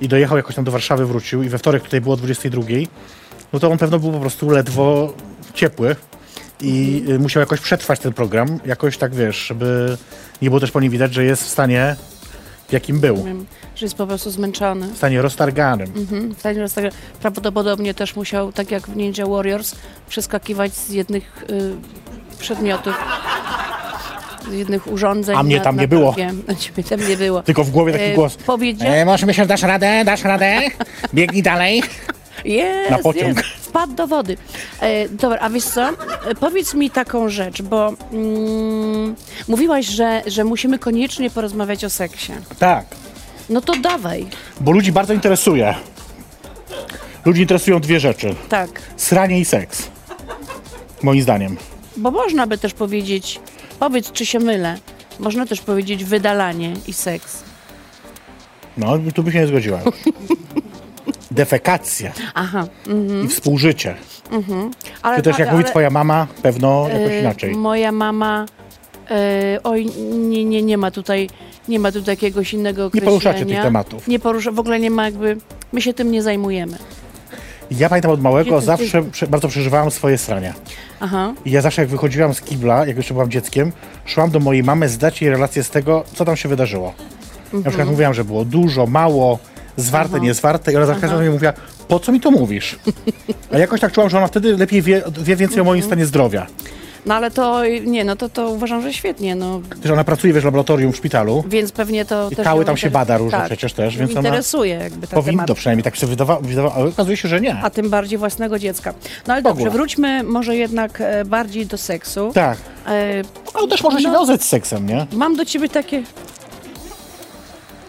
S3: i dojechał jakoś tam do Warszawy, wrócił i we wtorek tutaj było o 22, no to on pewno był po prostu ledwo ciepły i y, musiał jakoś przetrwać ten program, jakoś tak wiesz, żeby nie było też po nim widać, że jest w stanie, w jakim był,
S2: Wiem, że jest po prostu zmęczony.
S3: w stanie roztarganym.
S2: Mhm, W takim razie tak, prawdopodobnie też musiał, tak jak w Ninja Warriors, przeskakiwać z jednych y, przedmiotów, z jednych urządzeń.
S3: A mnie
S2: na,
S3: tam
S2: na
S3: nie było.
S2: drugie. A ciebie tam nie było.
S3: Tylko w głowie taki
S2: E,
S3: głos.
S2: powiedzia-
S3: E, masz myśl, dasz radę, dasz radę, biegnij dalej.
S2: Jest,
S3: Na pociąg.
S2: Jest. Wpadł do wody. E, dobra, a wiesz co? E, powiedz mi taką rzecz, bo mm, mówiłaś, że, że musimy koniecznie porozmawiać o seksie.
S3: Tak.
S2: No to dawaj.
S3: Bo ludzi bardzo interesuje. Ludzi interesują dwie rzeczy.
S2: Tak.
S3: Sranie i seks. Moim zdaniem.
S2: Bo można by też powiedzieć, powiedz czy się mylę, można też powiedzieć wydalanie i seks.
S3: No, tu by się nie zgodziła. Defekacja
S2: Aha.
S3: i współżycie.
S2: Ale
S3: Ty też, jak
S2: Mhm. ale-
S3: mówi twoja mama, pewno jakoś
S2: e,
S3: inaczej.
S2: Moja mama. e, oj, nie, nie, nie ma tutaj, nie ma tutaj jakiegoś innego
S3: Nie
S2: określenia.
S3: poruszacie tych tematów.
S2: Nie porusza, w ogóle nie ma jakby, my się tym nie zajmujemy.
S3: Ja pamiętam od małego,
S2: Gdzie ty-
S3: zawsze prze, bardzo przeżywałam swoje srania.
S2: Aha.
S3: I ja zawsze, jak wychodziłam z kibla, jak jeszcze byłam dzieckiem, szłam do mojej mamy zdać jej relację z tego, co tam się wydarzyło. Na
S2: Mhm.
S3: przykład mówiłam, że było dużo, mało, zwarte, niezwarte i ona za każdym razem mi mówiła, po co mi to mówisz? A jakoś tak czułam, że ona wtedy lepiej wie, wie więcej o
S2: Mhm.
S3: moim stanie zdrowia.
S2: No ale to, nie, no to, to uważam, że świetnie, no.
S3: Też ona pracuje, wiesz, w laboratorium w szpitalu.
S2: Więc pewnie to
S3: I
S2: też...
S3: kały
S2: ją
S3: tam się
S2: inter-
S3: bada różne przecież też, więc
S2: ją
S3: ona
S2: interesuje jakby ten
S3: Powinno
S2: temat.
S3: przynajmniej, tak się wydawało, wydawa- ale okazuje się, że nie.
S2: A tym bardziej własnego dziecka. No ale
S3: W
S2: dobrze,
S3: ogóle.
S2: wróćmy może jednak e, bardziej do seksu.
S3: Tak.
S2: E,
S3: Ale też może się wiązać z seksem, nie?
S2: Mam do ciebie takie.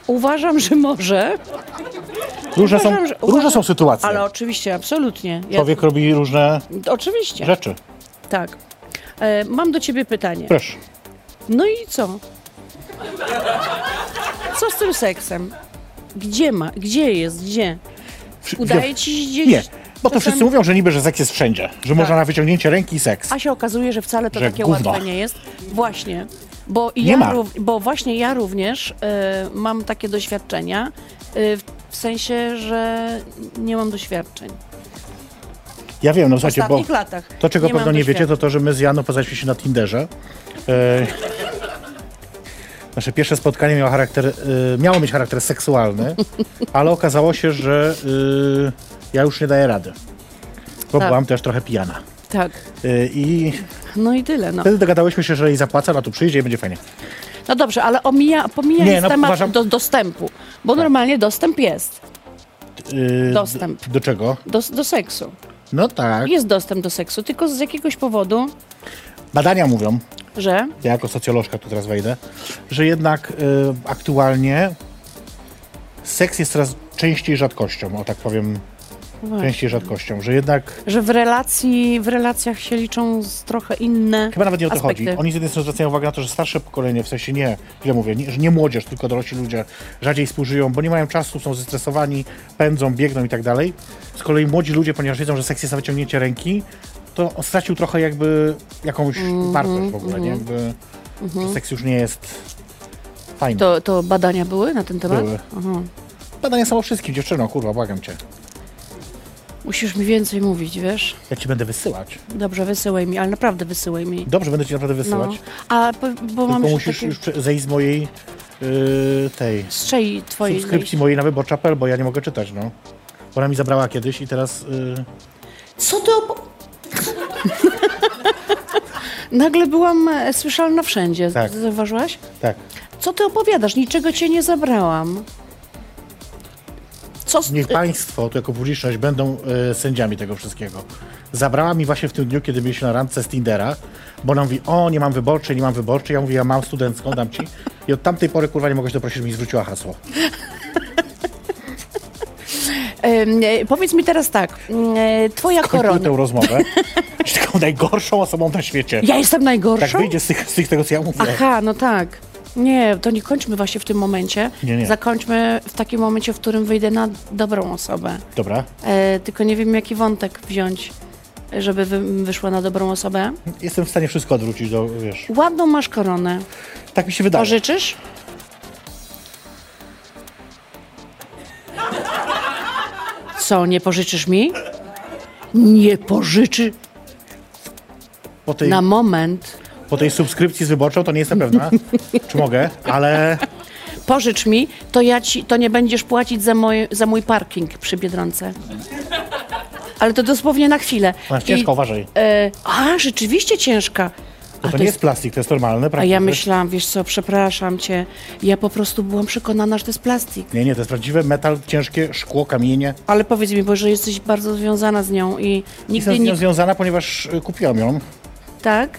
S2: Uważam, że może.
S3: Różne są,
S2: Uważam, że-
S3: różne
S2: uważam-
S3: są sytuacje.
S2: Ale oczywiście, absolutnie. Ja,
S3: Człowiek robi różne
S2: oczywiście,
S3: rzeczy.
S2: tak. E, mam do ciebie pytanie.
S3: Proszę.
S2: No i co? Co z tym seksem? Gdzie ma? Gdzie jest? Gdzie?
S3: Wsz-
S2: Udaje ci się gdzieś?
S3: Nie, bo to
S2: czasem-
S3: wszyscy mówią, że niby, że seks jest wszędzie. Że można na wyciągnięcie ręki seks.
S2: Tak. A się okazuje, że wcale to
S3: Że
S2: takie
S3: gówno.
S2: łatwe nie jest. Właśnie. Bo, i
S3: Nie
S2: ja,
S3: ma.
S2: rów- bo właśnie ja również e, mam takie doświadczenia, e, w- w sensie, że nie mam doświadczeń.
S3: Ja wiem, no
S2: W
S3: słuchajcie, bo
S2: ostatnich latach.
S3: to, czego pewno
S2: mam
S3: nie wiecie, to
S2: doświadczeń.
S3: to, że my z Janą poznaliśmy się na Tinderze. E, Nasze pierwsze spotkanie miało, charakter, e, miało mieć charakter seksualny, ale okazało się, że e, ja już nie daję rady, bo
S2: Tak.
S3: byłam też trochę pijana.
S2: Tak.
S3: E, I
S2: No i tyle. No,
S3: wtedy dogadałyśmy się, że jej zapłacę, ona tu przyjdzie i będzie fajnie.
S2: no dobrze, ale omija, pomijając
S3: Nie, no,
S2: temat
S3: uważam- Tak.
S2: do, dostępu, bo normalnie dostęp jest
S3: E,
S2: Dostęp.
S3: Do, do czego?
S2: do, do seksu.
S3: No tak.
S2: Jest dostęp do seksu, tylko z jakiegoś powodu,
S3: Badania mówią,
S2: że
S3: ja jako socjolożka tu teraz wejdę, że jednak y, aktualnie seks jest coraz częściej rzadkością, o tak powiem,
S2: Tak.
S3: częściej rzadkością, że jednak
S2: że w relacji, w relacjach się liczą z trochę inne
S3: chyba nawet nie o to
S2: aspekty.
S3: chodzi. Oni z jednej strony zwracają uwagę na to, że starsze pokolenie, w sensie nie, źle mówię, nie, że nie młodzież, tylko dorośli ludzie rzadziej współżyją, bo nie mają czasu, są zestresowani, pędzą, biegną i tak dalej. Z kolei młodzi ludzie, ponieważ wiedzą, że seks jest na wyciągnięcie ręki, to on stracił trochę jakby jakąś wartość w
S2: Mhm.
S3: ogóle, nie? Jakby, że Seks już nie jest fajny.
S2: To, to badania były na ten temat?
S3: Były.
S2: Tak? Aha.
S3: Badania są o wszystkim, dziewczyno, kurwa, błagam cię.
S2: Musisz mi więcej mówić, wiesz?
S3: Ja ci będę wysyłać.
S2: Dobrze, wysyłaj mi, ale naprawdę wysyłaj mi.
S3: Dobrze, będę ci naprawdę
S2: No.
S3: wysyłać.
S2: A po, bo mam
S3: Tylko
S2: jeszcze
S3: musisz
S2: takie...
S3: już prze- zejść z mojej yy, tej
S2: z czej twojej...
S3: subskrypcji mojej na wyborcza.pl, bo ja nie mogę czytać, no. Ona mi zabrała kiedyś i teraz yy,
S2: Co to... ob- Nagle byłam e, słyszalna wszędzie.
S3: Tak.
S2: Zauważyłaś?
S3: tak.
S2: Co ty opowiadasz? Niczego cię nie zabrałam. Co... z-
S3: Niech państwo, tu jako publiczność, będą yy, sędziami tego wszystkiego. Zabrała mi właśnie w tym dniu, kiedy byliśmy na randce z Tindera, bo ona mówi, o, nie mam wyborczej, nie mam wyborczej. Ja mówię, ja mam studencką, dam ci. I od tamtej pory, kurwa, nie mogę się doprosić, żeby mi zwróciła hasło.
S2: Ym, e, powiedz mi teraz tak, ym, e, twoja
S3: Kończymy
S2: korona.
S3: tę rozmowę. Jesteś taką najgorszą osobą na świecie.
S2: Ja jestem
S3: Tak
S2: najgorszą?
S3: wyjdzie z, tych, z tych tego, co ja mówię.
S2: Aha, no tak. Nie, to nie kończmy właśnie w tym momencie.
S3: Nie, nie.
S2: Zakończmy w takim momencie, w którym wyjdę na dobrą osobę.
S3: Dobra.
S2: E, tylko nie wiem, jaki wątek wziąć, żeby wy, wyszła na dobrą osobę.
S3: Jestem w stanie wszystko odwrócić do, wiesz.
S2: Ładną masz koronę.
S3: Tak mi się wydaje.
S2: Pożyczysz? Co, nie pożyczysz mi? Nie pożyczy
S3: Po tej,
S2: na moment.
S3: po tej subskrypcji z wyborczą to nie jestem pewna, czy mogę, ale
S2: Pożycz mi, to ja ci, to nie będziesz płacić za mój, za mój parking przy Biedronce. Ale to dosłownie na chwilę.
S3: ona jest ciężka, uważaj.
S2: E, a, rzeczywiście ciężka.
S3: To,
S2: A
S3: to nie jest tak, plastik, to jest normalne,
S2: A
S3: prawda?
S2: ja myślałam, wiesz co, przepraszam cię, ja po prostu byłam przekonana, że to jest plastik.
S3: Nie, nie, to jest prawdziwe metal, ciężkie szkło, kamienie.
S2: Ale powiedz mi, bo że jesteś bardzo związana z nią i nigdy
S3: Jestem z nią
S2: nie...
S3: związana, ponieważ y, kupiłam ją
S2: Tak?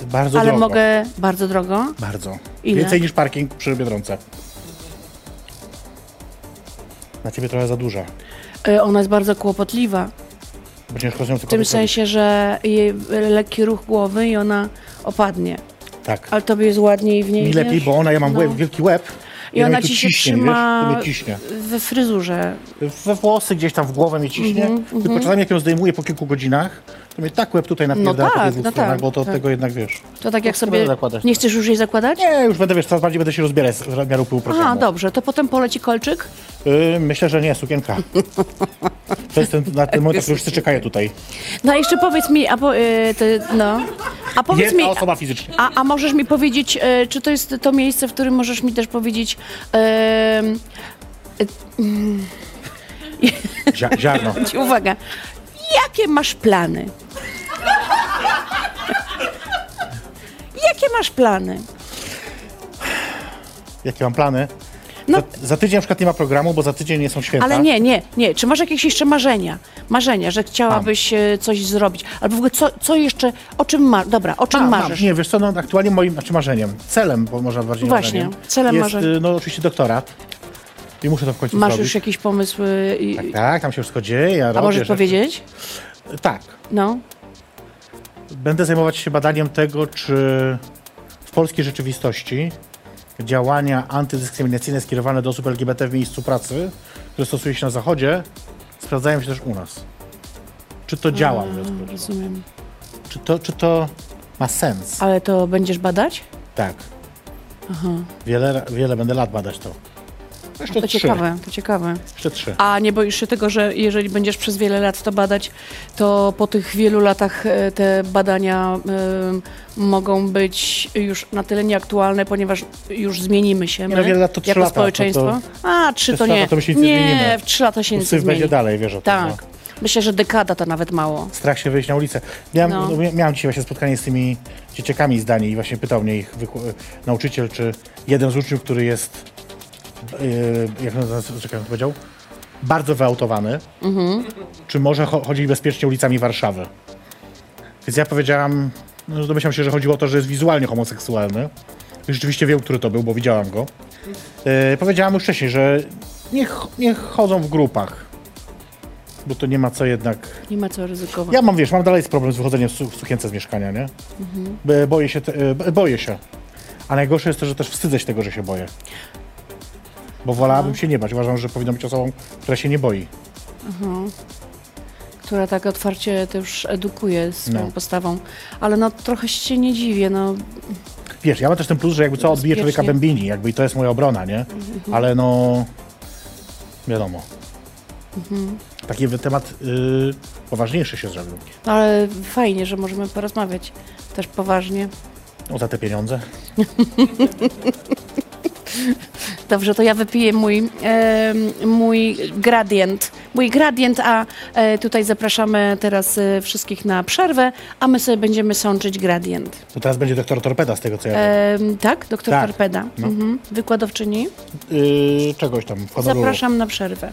S3: bardzo
S2: Ale
S3: drogo.
S2: mogę bardzo drogo.
S3: Bardzo.
S2: Ile?
S3: Więcej niż parking przy Biedronce. Na ciebie trochę za duża.
S2: E, Ona jest bardzo kłopotliwa.
S3: Bo ciężko z nią
S2: W tym sensie, że jej lekki ruch głowy i ona opadnie.
S3: Tak.
S2: Ale tobie jest ładniej w niej.
S3: Mi lepiej,
S2: wiesz?
S3: bo ona, ja mam
S2: No.
S3: łeb, wielki łeb.
S2: I ona
S3: mi tu
S2: ci się
S3: ciśnie,
S2: trzyma
S3: Wiesz? Tu mnie ciśnie.
S2: we fryzurze.
S3: We włosy gdzieś tam w głowę mnie ciśnie.
S2: Mhm,
S3: tylko czasami jak ją zdejmuję po kilku godzinach, to mnie tak łeb tutaj napierdala
S2: tak,
S3: po tych dwóch
S2: no
S3: stronach,
S2: tak,
S3: bo to
S2: tak.
S3: tego jednak wiesz.
S2: To tak jak
S3: nie
S2: sobie.
S3: będę No, zakładać.
S2: Nie chcesz już jej zakładać?
S3: Nie, już będę, wiesz, coraz bardziej będę się rozbierać z w miarę upływu
S2: Aha,
S3: programu.
S2: dobrze, to potem poleci kolczyk.
S3: Y, myślę, że nie, sukienka. to jest ten, na ten moment, na który wszyscy czekają tutaj.
S2: No a jeszcze powiedz mi, a po, y, ty, no. A powiedz mi.
S3: Jedna osoba fizycznie.
S2: A, a możesz mi powiedzieć, y, czy to jest to miejsce, w którym możesz mi też powiedzieć. em,
S3: Zia- ziarno.
S2: ci uwaga, jakie masz plany? Jakie masz plany?
S3: Jakie mam plany?
S2: No.
S3: Za, za tydzień na przykład nie ma programu, bo za tydzień nie są święta.
S2: Ale nie, nie, nie. Czy masz jakieś jeszcze marzenia? Marzenia, że chciałabyś e, coś zrobić? Albo w ogóle co, co jeszcze, o czym masz? Dobra, o czym
S3: Mam, mam.
S2: marzysz?
S3: Nie, wiesz co, no, aktualnie moim znaczy marzeniem, celem, bo można bardziej
S2: Właśnie,
S3: marzeniem,
S2: celem
S3: jest,
S2: marzeń.
S3: y, no oczywiście doktorat. I muszę to w końcu
S2: masz
S3: zrobić.
S2: już jakieś pomysły? I,
S3: Tak, tam się wszystko dzieje. Ja
S2: a
S3: robię
S2: możesz
S3: rzeczy.
S2: powiedzieć?
S3: Tak.
S2: No.
S3: Będę zajmować się badaniem tego, czy w polskiej rzeczywistości działania antydyskryminacyjne skierowane do osób LGBT w miejscu pracy, które stosuje się na Zachodzie, sprawdzają się też u nas. Czy to działa?
S2: Mm.
S3: w związku z tym?
S2: Rozumiem.
S3: Czy to, czy to ma sens?
S2: Ale to będziesz badać?
S3: Tak. Wiele, wiele będę lat badać to. Jeszcze
S2: No To
S3: trzy.
S2: ciekawe, to ciekawe.
S3: Jeszcze trzy.
S2: A nie boisz się tego, że jeżeli będziesz przez wiele lat to badać, to po tych wielu latach e, te badania em, mogą być już na tyle nieaktualne, ponieważ już zmienimy się
S3: Nie
S2: my,
S3: no, wiele lat to trzy
S2: jako
S3: lata, to-
S2: społeczeństwo. A, trzy
S3: przez
S2: to nie.
S3: lata to my się nic
S2: nie,
S3: nie zmienimy.
S2: w trzy lata się nic nie
S3: Syf
S2: zmieni.
S3: będzie dalej, wiesz o tym. no.
S2: Tak. Myślę, że dekada to nawet mało.
S3: Strach się wyjść na ulicę. Miałem,
S2: No.
S3: no. miałem dzisiaj właśnie spotkanie z tymi dzieciakami z Danii i właśnie pytał mnie ich wyku- e, nauczyciel, czy jeden z uczniów, który jest, yy, jak on nazywa- czekaj, jak on powiedział, bardzo wyautowany, czy może cho- chodzić bezpiecznie ulicami Warszawy. Więc ja powiedziałam, no domyślam się, że chodziło o to, że jest wizualnie homoseksualny. I Rzeczywiście wiem, który to był, bo widziałam go. Yy, powiedziałam już wcześniej, że niech, niech chodzą w grupach, bo to nie ma co jednak
S2: Nie ma co ryzykować.
S3: ja mam, wiesz, mam dalej problem z wychodzeniem w, su- w sukience z mieszkania, nie? Bo- Boję się, te, e, bo- boję się. A najgorsze jest to, że też wstydzę się tego, że się boję.
S2: No.
S3: Bo wolałabym się nie bać. Uważam, że powinno być osobą, która się nie boi.
S2: która tak otwarcie to już edukuje swoją
S3: No.
S2: postawą. Ale no trochę się nie dziwię, no
S3: Wiesz, ja mam też ten plus, że jakby co, odbije człowieka
S2: Bezpiecznie. Mhm.
S3: bębini, jakby i to jest moja obrona, nie? Ale no... Wiadomo.
S2: Mhm.
S3: Taki wy- temat y, poważniejszy się zrobił.
S2: No ale fajnie, że możemy porozmawiać też poważnie.
S3: O, za te pieniądze.
S2: Dobrze, to ja wypiję mój, e, mój gradient. Mój gradient, a e, tutaj zapraszamy teraz e, wszystkich na przerwę, a my sobie będziemy sączyć gradient.
S3: To teraz będzie doktor Torpeda z tego, co ja wiem.
S2: E, tak, doktor
S3: Tak.
S2: Torpeda, mhm. wykładowczyni.
S3: Y, czegoś tam, w honoru.
S2: Zapraszam na przerwę.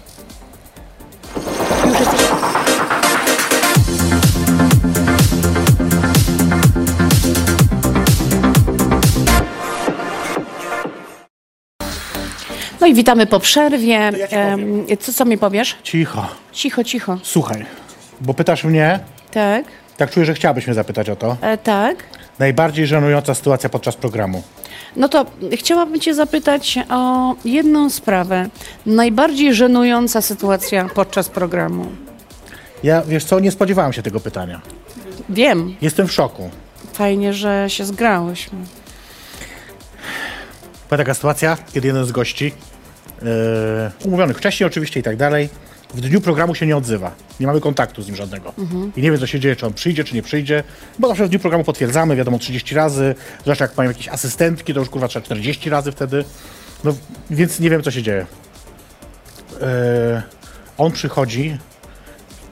S2: No i witamy po przerwie.
S3: To ja ci
S2: Em, co, co mi powiesz?
S3: Cicho.
S2: Cicho, cicho.
S3: Słuchaj, bo pytasz mnie,
S2: Tak,
S3: tak czuję, że chciałabyś mnie zapytać o to.
S2: e, tak.
S3: Najbardziej żenująca sytuacja podczas programu.
S2: No to chciałabym Cię zapytać o jedną sprawę. Najbardziej żenująca sytuacja podczas programu.
S3: Ja, wiesz co, nie spodziewałem się tego pytania.
S2: Wiem,
S3: Jestem w szoku.
S2: fajnie, że się zgrałyśmy.
S3: Była taka sytuacja, kiedy jeden z gości, yy, umówionych wcześniej oczywiście i tak dalej, w dniu programu się nie odzywa. Nie mamy kontaktu z nim żadnego. I nie wiem, co się dzieje, czy on przyjdzie, czy nie przyjdzie, bo zawsze w dniu programu potwierdzamy, wiadomo, 30 razy, zwłaszcza jak mają jakieś asystentki, to już kurwa trzeba 40 razy wtedy. No, więc nie wiem, co się dzieje. Yy, on przychodzi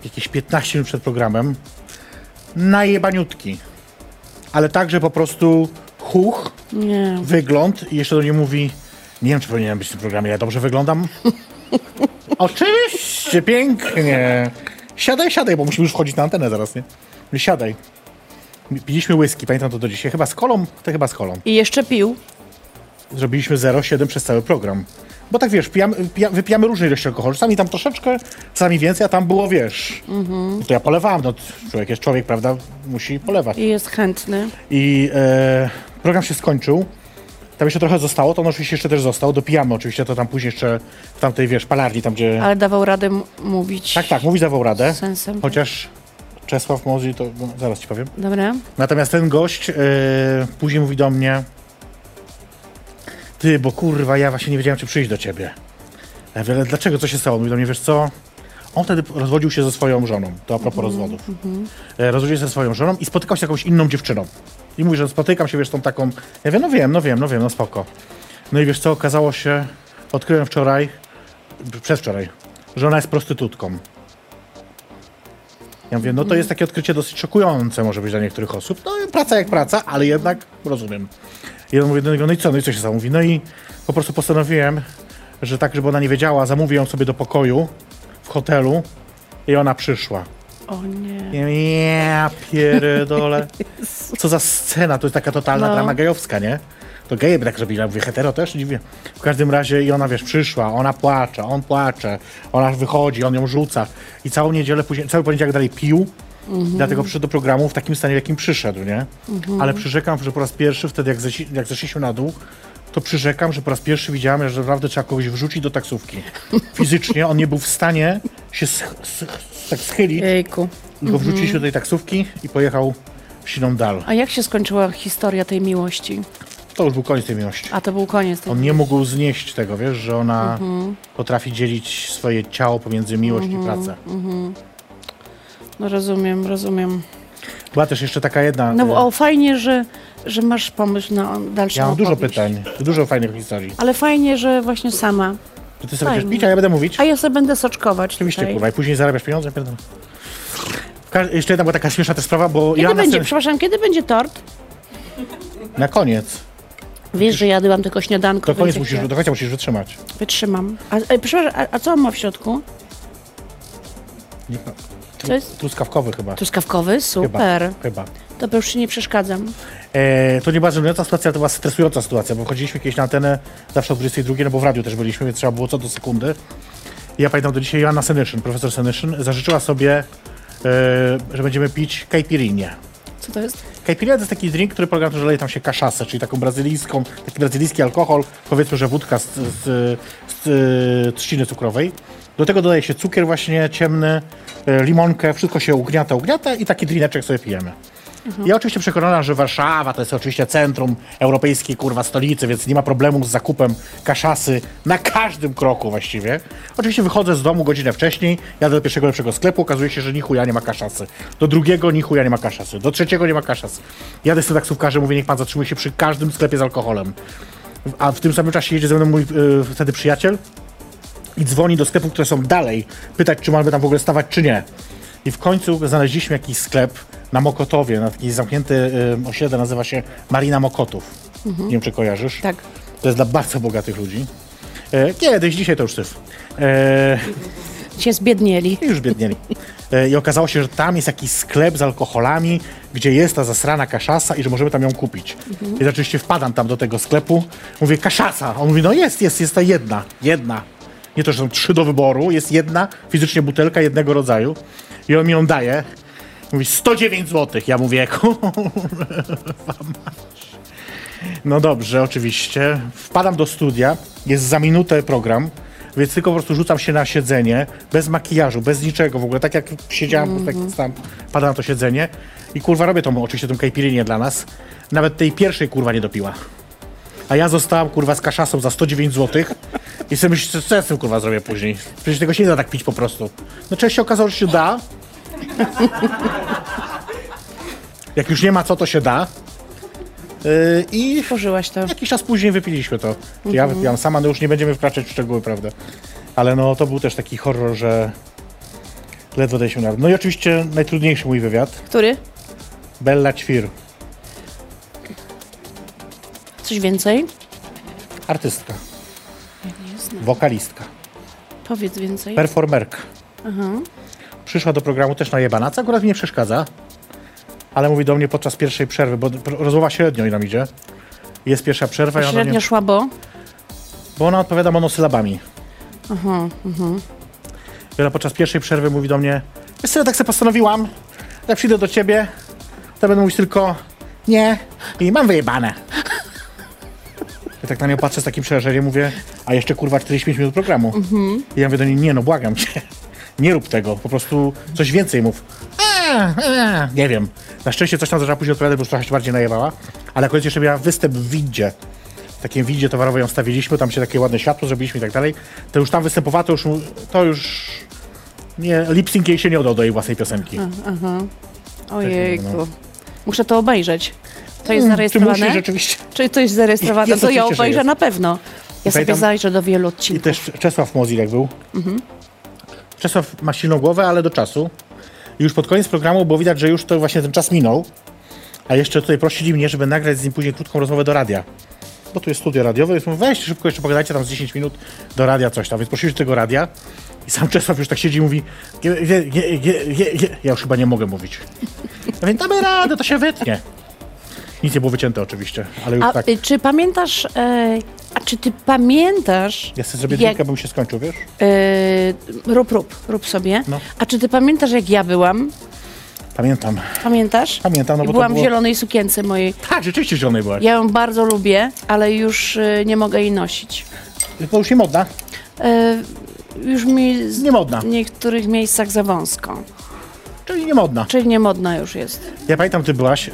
S3: jakieś 15 minut przed programem, najebaniutki, ale także po prostu huch,
S2: Nie.
S3: wygląd i jeszcze do niej mówi, nie wiem, czy powinienem być w tym programie, ja dobrze wyglądam? Oczywiście, pięknie. Siadaj, siadaj, bo musimy już wchodzić na antenę zaraz, nie? Mówi, Siadaj. Piliśmy whisky, pamiętam to do dzisiaj, chyba z kolą, to chyba z kolą.
S2: I jeszcze pił.
S3: Zrobiliśmy 0,7 przez cały program. Bo tak wiesz, pijamy, pija, wypijamy różne ilości alkoholu, czasami tam troszeczkę, czasami więcej, a tam było, wiesz. To ja polewałem, no człowiek jest człowiek, prawda, musi polewać.
S2: I jest chętny.
S3: I e, program się skończył. Tam jeszcze trochę zostało, to on oczywiście jeszcze też został. Dopijamy oczywiście to tam później jeszcze w tamtej, wiesz, palarni, tam gdzie...
S2: Ale dawał radę m- mówić.
S3: Tak, tak, mówi dawał radę.
S2: Z sensem. tak.
S3: Chociaż Czesław Mozi, to no, zaraz ci powiem.
S2: Dobra?
S3: Natomiast ten gość e, później mówi do mnie Ty, bo kurwa, ja właśnie nie wiedziałem, czy przyjść do ciebie. Ja mówię, ale dlaczego, co się stało? Mówi do mnie, wiesz co? On wtedy rozwodził się ze swoją żoną, to a propos rozwodów. E, rozwodził się ze swoją żoną i spotykał się z jakąś inną dziewczyną. I mówi, że spotykam się, wiesz, tą taką... Ja wiem, no wiem, no wiem, no wiem, no spoko. No i wiesz co, okazało się, odkryłem wczoraj, przedwczoraj, że ona jest prostytutką. Ja mówię, no to jest takie odkrycie dosyć szokujące może być dla niektórych osób. No i praca jak praca, ale jednak rozumiem. I on mówi do niego, no i co, no i co się stało? Mówi, no i po prostu postanowiłem, że tak, żeby ona nie wiedziała, zamówię ją sobie do pokoju w hotelu i ona przyszła.
S2: O nie.
S3: Ja mówię, Ja pierdolę. Co za scena, to jest taka totalna
S2: No.
S3: drama gejowska, nie? To geje by tak robili, ale mówię, hetero też, dziwnie. W każdym razie i ona, wiesz, przyszła, ona płacze, on płacze, ona wychodzi, on ją rzuca. I całą niedzielę później, cały poniedziałek dalej pił, dlatego przyszedł do programu w takim stanie, w jakim przyszedł, nie? Ale przyrzekam, że po raz pierwszy wtedy, jak, zesi, jak zeszliśmy na dół, to przyrzekam, że po raz pierwszy widziałem, że naprawdę trzeba kogoś wrzucić do taksówki. Fizycznie on nie był w stanie się sch, sch, tak schylić,
S2: Jejku.
S3: go
S2: Mhm.
S3: wrzuciliśmy do tej taksówki i pojechał w siną dal.
S2: A jak się skończyła historia tej miłości?
S3: To już był koniec tej miłości.
S2: A to był koniec. Tej...
S3: On nie mógł znieść tego, wiesz, że ona
S2: Mhm.
S3: potrafi dzielić swoje ciało pomiędzy miłość i pracę.
S2: No rozumiem, rozumiem.
S3: Była też jeszcze taka jedna.
S2: No
S3: e,
S2: bo- o, fajnie, że, że masz pomysł na dalszą
S3: ja mam dużo
S2: opowieść.
S3: pytań, dużo fajnych historii.
S2: Ale fajnie, że właśnie sama.
S3: Czy ty sobie
S2: Fajnie.
S3: będziesz pić, a ja będę mówić?
S2: A ja sobie będę soczkować
S3: Oczywiście,
S2: tutaj.
S3: kurwa, i później zarabiasz pieniądze. Pierdolę. Ka- Jeszcze jedna była taka śmieszna też sprawa, bo
S2: Kiedy
S3: ja na,
S2: będzie,
S3: scenie-
S2: przepraszam, kiedy będzie tort?
S3: na koniec,
S2: Wiesz, że jadłam tylko śniadanko.
S3: do, koniec
S2: więc
S3: musisz,
S2: jak
S3: do końca musisz wytrzymać.
S2: ja Wytrzymam. A, e, przepraszam, a, a co on ma w środku?
S3: Nie-
S2: To jest
S3: Truskawkowy chyba.
S2: truskawkowy?
S3: Chyba.
S2: Super.
S3: chyba.
S2: To już ci nie przeszkadzam.
S3: E, to nie była żenująca sytuacja, to była stresująca sytuacja, bo chodziliśmy kiedyś na antenę zawsze o 22, no bo w radiu też byliśmy, więc trzeba było co do sekundy. I ja pamiętam do dzisiaj Joanna Senyszyn, profesor Senyszyn, zażyczyła sobie, e, że będziemy pić caipirinę.
S2: Co to jest?
S3: Caipirinha to jest taki drink, który polega na tym, że leje tam się kaszasę, czyli taką brazylijską, taki brazylijski alkohol, powiedzmy, że wódka z, z, z, e, trzciny cukrowej. Do tego dodaje się cukier właśnie ciemny, e, limonkę, wszystko się ugniata, ugniata i taki drineczek sobie pijemy. Ja oczywiście przekonana, że Warszawa to jest oczywiście centrum europejskiej kurwa stolicy, więc nie ma problemu z zakupem kaszasy na każdym kroku właściwie. Oczywiście wychodzę z domu godzinę wcześniej, jadę do pierwszego lepszego sklepu, okazuje się, że ni chuja nie ma kaszasy. Do drugiego ni chuja nie ma kaszasy. Do trzeciego nie ma kaszasy. Jadę z tym taksówkarzem, mówię, niech pan zatrzymuje się przy każdym sklepie z alkoholem. A w tym samym czasie jedzie ze mną mój yy, wtedy przyjaciel, i dzwoni do sklepów, które są dalej, pytać, czy mamy tam w ogóle stawać, czy nie. I w końcu znaleźliśmy jakiś sklep na Mokotowie, na taki zamknięty y, osiedle, nazywa się Marina Mokotów. Nie wiem, czy kojarzysz.
S2: Tak.
S3: To jest dla bardzo bogatych ludzi. E, kiedyś, dzisiaj to już syf. E,
S2: Cię zbiednieli.
S3: i już biednieli. E, I okazało się, że tam jest jakiś sklep z alkoholami, gdzie jest ta zasrana kaszasa i że możemy tam ją kupić. I oczywiście wpadam tam do tego sklepu, mówię, kaszasa. On mówi, no jest, jest, jest ta jedna, jedna. Nie to, że są trzy do wyboru, jest jedna fizycznie butelka jednego rodzaju. I on mi ją daje. Mówi, 109 zł. Ja mówię, kurwa masz. No dobrze, oczywiście. Wpadam do studia, jest za minutę program, więc tylko po prostu rzucam się na siedzenie, bez makijażu, bez niczego w ogóle. Tak jak siedziałam, po prostu tak tam padam na to siedzenie i kurwa robię tą, oczywiście tą kajpirinię dla nas. Nawet tej pierwszej kurwa nie dopiła. A ja zostałam kurwa z kaszasą za 109 zł i sobie myślę, co ja z tym kurwa zrobię później. Przecież tego się nie da tak pić po prostu. No część się okazało, że się da. Jak już nie ma co, to się da. Yy, I
S2: Pożyłaś to.
S3: Jakiś czas później wypiliśmy to. Ja wypiłam sama, no już nie będziemy wkraczać w szczegóły, prawda? Ale no to był też taki horror, że ledwo daliśmy nawet. No i oczywiście najtrudniejszy mój wywiad.
S2: Który?
S3: Bella Ćwir,
S2: Coś więcej?
S3: artystka, wokalistka,
S2: Powiedz więcej.
S3: performerka. Przyszła do programu też na jebana, co akurat mi nie przeszkadza, ale mówi do mnie podczas pierwszej przerwy, bo pr- rozmowa średnio i nam idzie. Jest pierwsza przerwa i ona do
S2: Średnio
S3: mnie,
S2: szła, bo
S3: bo ona odpowiada monosylabami. I ona podczas pierwszej przerwy mówi do mnie, wiesz co, ja tak sobie postanowiłam, jak przyjdę do ciebie, to będę mówić tylko nie i mam wyjebane. Ja tak na nią patrzę z takim przerażeniem, mówię, a jeszcze kurwa 45 minut programu. I ja mówię do niej, nie no, błagam cię, nie rób tego, po prostu coś więcej mów. "A, a", Nie wiem. Na szczęście coś tam zaczęła później odpowiadać, bo już trochę się bardziej najewała. Ale akurat jeszcze miała występ w windzie. W takim windzie towarowej ją stawiliśmy, tam się takie ładne światło zrobiliśmy i tak dalej. To już tam występowała, to już, to już nie, lip-sync jej się nie udał do jej własnej piosenki.
S2: Mhm. Ojejku. Muszę to obejrzeć. To jest
S3: no. Mm, Czy musisz
S2: zarejestrowane?
S3: rzeczywiście?
S2: Czy to jest zarejestrowane?
S3: Jest
S2: to ja
S3: oczywiście, że
S2: obejrzę
S3: jest.
S2: na pewno. Ja sobie
S3: Pamiętam-
S2: zajrzę do wielu
S3: I
S2: odcinków.
S3: też Czesław Mozil jak był. Czesław ma silną głowę, ale do czasu. I już pod koniec programu było widać, że już to właśnie ten czas minął. A jeszcze tutaj prosili mnie, żeby nagrać z nim później krótką rozmowę do radia. Bo tu jest studio radiowe, więc mówię, weźcie szybko, jeszcze pogadajcie tam z 10 minut do radia coś tam. Więc prosili do tego radia i sam Czesław już tak siedzi i mówi, "Gie- gie- gie- gie- gie- gie." ja już chyba nie mogę mówić. Ja więc damy radę, to się wytnie. Nic nie było wycięte oczywiście, ale już
S2: A
S3: tak.
S2: y, czy pamiętasz, e, a czy ty pamiętasz...
S3: Ja sobie zrobię
S2: jak-
S3: drinka, bo mi się skończył, wiesz?
S2: y, rób, rób, rób sobie.
S3: No.
S2: A czy ty pamiętasz, jak ja byłam?
S3: Pamiętam.
S2: Pamiętasz?
S3: Pamiętam, no
S2: I
S3: bo to
S2: Byłam
S3: było-
S2: w zielonej sukience mojej.
S3: Tak, rzeczywiście zielonej byłaś.
S2: Ja ją bardzo lubię, ale już y, nie mogę jej nosić.
S3: To już nie modna.
S2: E, już mi z...
S3: Nie modna.
S2: w niektórych miejscach za wąsko.
S3: Czyli nie modna.
S2: Czyli niemodna już jest.
S3: Ja pamiętam, ty byłaś. Yy,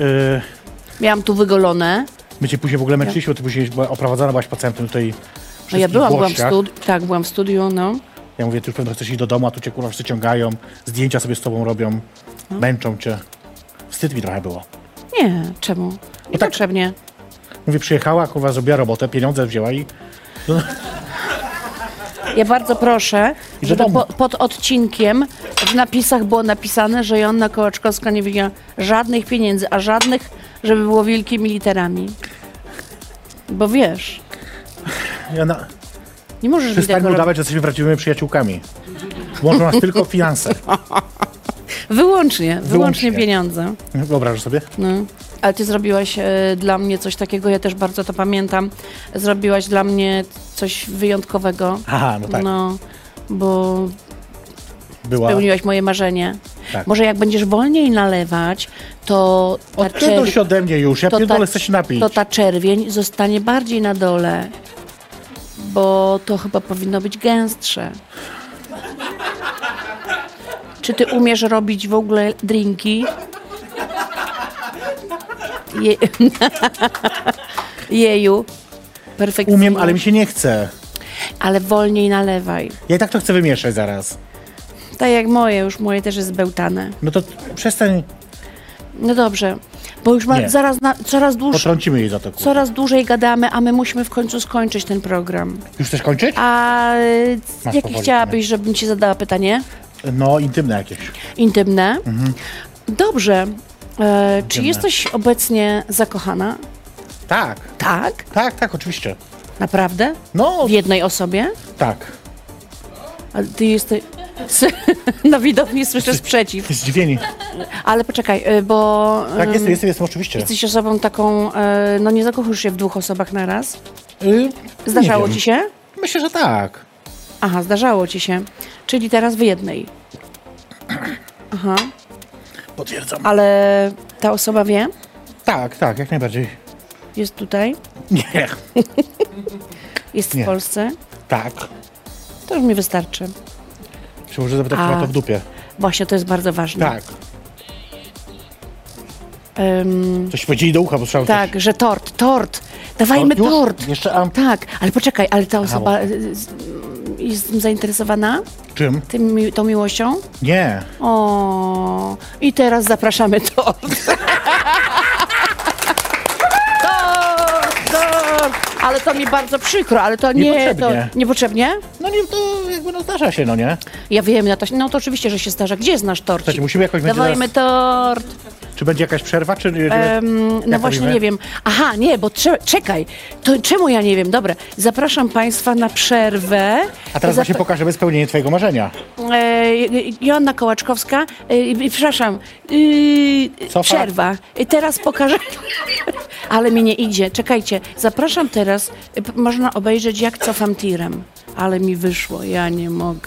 S2: Miałam tu wygolone.
S3: my cię później w ogóle męczyliśmy, bo ty później była, oprowadzana byłaś po centrum tutaj.
S2: No ja
S3: wszystkich
S2: byłam, byłam w
S3: gościach.
S2: studiu. Tak, byłam w studiu, no.
S3: Ja mówię, ty już pewno chcesz iść do domu, a tu cię kurwa wszyscy ciągają, zdjęcia sobie z tobą robią,
S2: No.
S3: męczą cię. Wstyd mi trochę było.
S2: Nie, czemu?
S3: No tak.
S2: Niepotrzebnie.
S3: Mówię, przyjechała, kurwa, zrobiła robotę, pieniądze wzięła i
S2: Ja bardzo proszę,
S3: I do
S2: żeby
S3: domu.
S2: po, pod odcinkiem w napisach było napisane, że Joanna Kołaczkowska nie wzięła żadnych pieniędzy, a żadnych, żeby było wielkimi literami. Bo wiesz,
S3: ja na,
S2: nie możesz mi tego
S3: przestańmy
S2: robić.
S3: udawać, że jesteśmy prawdziwymi przyjaciółkami. Łączą nas tylko finanse.
S2: Wyłącznie, wyłącznie,
S3: Wyłącznie.
S2: pieniądze.
S3: Wyobrażasz sobie?
S2: No. Ale ty zrobiłaś e, dla mnie coś takiego, ja też bardzo to pamiętam. Zrobiłaś dla mnie coś wyjątkowego.
S3: Aha, no tak,
S2: No, bo
S3: była.
S2: spełniłaś moje marzenie.
S3: Tak.
S2: Może jak będziesz wolniej nalewać, to ta,
S3: Odpierdol się ode mnie już, ja
S2: to,
S3: pierdolę,
S2: ta,
S3: chcę się napić.
S2: to tak- ta czerwień zostanie bardziej na dole, bo to chyba powinno być gęstsze. Czy ty umiesz robić w ogóle drinki? Je... Jeju. Perfekcyjnie.
S3: Umiem, ale mi się nie chce.
S2: Ale wolniej nalewaj.
S3: Ja i tak to chcę wymieszać zaraz.
S2: Tak jak moje, już moje też jest bełtane.
S3: No to przestań,
S2: No dobrze, bo już ma
S3: Nie.
S2: zaraz na, coraz, dłuż,
S3: potrącimy jej za to. kurwa.
S2: coraz dłużej gadamy, a my musimy w końcu skończyć ten program.
S3: Już chcesz kończyć?
S2: A y,
S3: Masz
S2: jakie
S3: powoli,
S2: chciałabyś, żebym ci zadała pytanie?
S3: No, intymne jakieś.
S2: Intymne.
S3: Mhm.
S2: Dobrze. E, czy jesteś obecnie zakochana?
S3: Tak,
S2: Tak?
S3: tak, tak, oczywiście.
S2: Naprawdę?
S3: No,
S2: W jednej osobie?
S3: tak.
S2: A ty jesteś. Na widowni słyszę sprzeciw.
S3: Zdziwieni.
S2: Ale poczekaj, y, bo
S3: Tak,
S2: ym,
S3: jestem, jestem, jestem oczywiście.
S2: jesteś osobą taką, y, no nie zakochujesz się w dwóch osobach na raz.
S3: Y,
S2: Zdarzało
S3: nie wiem.
S2: ci się?
S3: Myślę, że tak.
S2: Aha, zdarzało ci się. Czyli teraz w jednej. Aha,
S3: Potwierdzam.
S2: ale ta osoba wie?
S3: Tak, tak, jak najbardziej.
S2: Jest tutaj?
S3: Nie.
S2: Jest
S3: Nie.
S2: w Polsce?
S3: Tak.
S2: To już mi wystarczy.
S3: Czy może zapytać,
S2: A.
S3: czy ma to w dupie?
S2: Właśnie, to jest bardzo ważne.
S3: Tak.
S2: Ym,
S3: Coś powiedzieli do ucha, bo trzeba
S2: tak, że tort, tort. Dawajmy
S3: już?
S2: tort.
S3: Jeszcze am...
S2: Tak, ale poczekaj, ale ta
S3: bo-
S2: osoba y, z- jest tym zainteresowana?
S3: Czym?
S2: Tym, mi- tą miłością?
S3: Nie.
S2: O, i teraz zapraszamy tort. tort, tort. Ale to mi bardzo przykro, ale to nie...
S3: Niepotrzebnie.
S2: To, niepotrzebnie?
S3: No nie, to jakby no zdarza się, no nie?
S2: Ja wiem, no to, no to oczywiście, że się zdarza. Gdzie jest nasz tort?
S3: Słuchajcie, musimy jakoś będzie
S2: Dawajmy tort.
S3: Czy będzie jakaś przerwa, czy...
S2: Mm, No właśnie nie wiem. Aha, nie, bo trze- czekaj. To czemu ja nie wiem? Dobra, zapraszam Państwa na przerwę.
S3: A teraz
S2: Zapra-
S3: właśnie pokażemy spełnienie twojego marzenia.
S2: E, Joanna Kołaczkowska, e, e, przepraszam, e,
S3: Cofa?
S2: przerwa. E, Teraz pokażę. Ale mi nie idzie. Czekajcie, zapraszam teraz. E, p- Można obejrzeć, jak cofam tirem. Ale mi wyszło, ja nie mogę.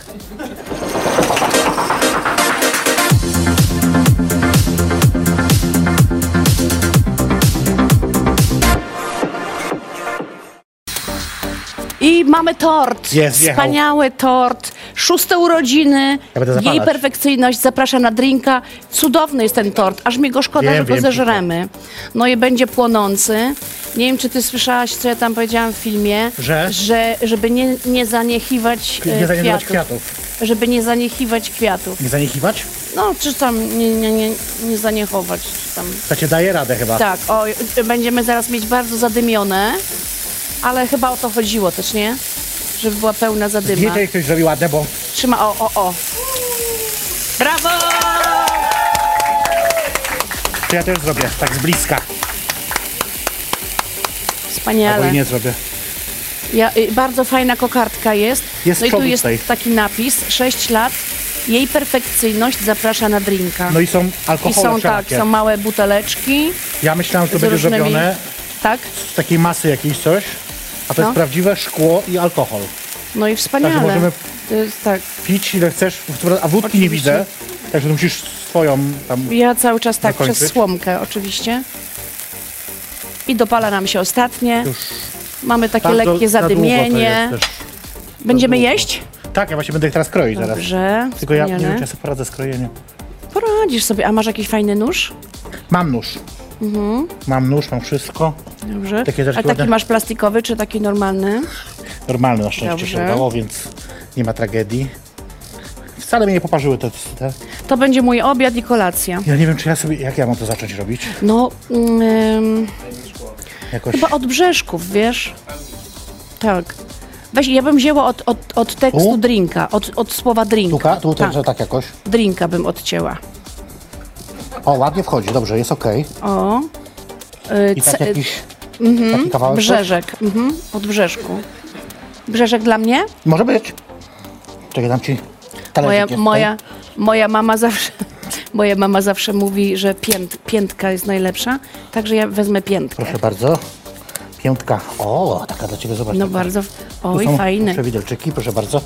S2: I mamy tort.
S3: Jest, wjechał.
S2: Wspaniały tort. Szóste urodziny.
S3: Ja będę zapalać.
S2: Jej perfekcyjność zaprasza na drinka. Cudowny jest ten tort. Aż mi go szkoda,
S3: Wiem,
S2: że go
S3: wiem,
S2: zeżremy. No i będzie płonący. Nie wiem, czy ty słyszałaś, co ja tam powiedziałam w filmie.
S3: Że?
S2: że żeby nie, nie zaniechiwać e,
S3: Nie zaniedbać
S2: kwiatów.
S3: kwiatów.
S2: Żeby nie zaniechiwać kwiatów.
S3: Nie zaniechiwać?
S2: No, czy tam nie, nie, nie, nie zaniechować. Czy tam.
S3: To cię daje radę chyba.
S2: Tak, o, będziemy zaraz mieć bardzo zadymione, ale chyba o to chodziło też, nie? Żeby była pełna
S3: Nie
S2: zadyma.
S3: jak ktoś zrobi ładne, bo
S2: Trzyma, o, o, o. Brawo!
S3: to ja też zrobię, tak z bliska. Albo
S2: Wspaniale.
S3: i nie zrobię.
S2: Ja, y, bardzo fajna kokardka jest.
S3: Jest
S2: no i tu
S3: przodu
S2: jest
S3: tutaj.
S2: taki napis, 6 lat, jej perfekcyjność zaprasza na drinka.
S3: No i są alkohole
S2: I są tak,
S3: wszelakie.
S2: są małe buteleczki
S3: Ja myślałem, że to
S2: z
S3: będzie
S2: różnymi...
S3: zrobione
S2: Tak,
S3: z takiej masy jakiejś coś, a to
S2: No.
S3: jest prawdziwe szkło i alkohol.
S2: no i wspaniale.
S3: Także możemy-
S2: To jest tak.
S3: Pić ile chcesz, a wódki nie
S2: Oczywiście.
S3: widzę, także to musisz swoją tam...
S2: Ja cały czas tak,
S3: Dokończyć?
S2: przez słomkę oczywiście. I dopala nam się ostatnie.
S3: Już
S2: Mamy takie
S3: bardzo
S2: lekkie
S3: za Tak, długo to jest
S2: zadymienie.
S3: też.
S2: Będziemy
S3: długo.
S2: jeść?
S3: Tak, ja właśnie będę ich teraz kroić zaraz.
S2: Dobrze.
S3: Tylko ja nie
S2: wspaniale.
S3: wiem, czy ja sobie poradzę z krojeniem.
S2: Poradzisz sobie. A masz jakiś fajny nóż?
S3: Mam nóż.
S2: Mhm.
S3: Mam nóż, mam wszystko.
S2: Dobrze.
S3: Takie też
S2: A taki
S3: ładne.
S2: masz plastikowy czy taki normalny?
S3: Normalny na szczęście się
S2: Dobrze.
S3: udało, więc nie ma tragedii. Wcale mnie nie poparzyły te, te...
S2: To będzie mój obiad i kolacja.
S3: Ja nie wiem, czy ja sobie... Jak ja mam to zacząć robić?
S2: No, ym,
S3: Jakoś...
S2: chyba od brzeszków, wiesz? Tak. Weź, ja bym wzięła od, od, od tekstu
S3: Tu?
S2: drinka, od, od słowa drinka.
S3: Tuka? Tu
S2: tak,
S3: tak. tak jakoś.
S2: drinka bym odcięła.
S3: O, ładnie wchodzi, dobrze, jest okej.
S2: O. Y,
S3: I tak
S2: ce-
S3: jakiś...
S2: Mhm,
S3: Taki kawałek
S2: Brzeżek, mhm, od Brzeszku. Brzeżek dla mnie?
S3: też? Może być. Czekaj, dam ci
S2: Moja,
S3: talerzyk. jest
S2: moja, moja mama zawsze... Moja mama zawsze mówi, że pięt, piętka jest najlepsza, także ja wezmę piętkę.
S3: Proszę bardzo. Piątka. O, taka dla ciebie, zobacz.
S2: No
S3: taka.
S2: bardzo.
S3: Tu
S2: Oj,
S3: są
S2: fajny.
S3: Proszę, widelczyki, proszę bardzo.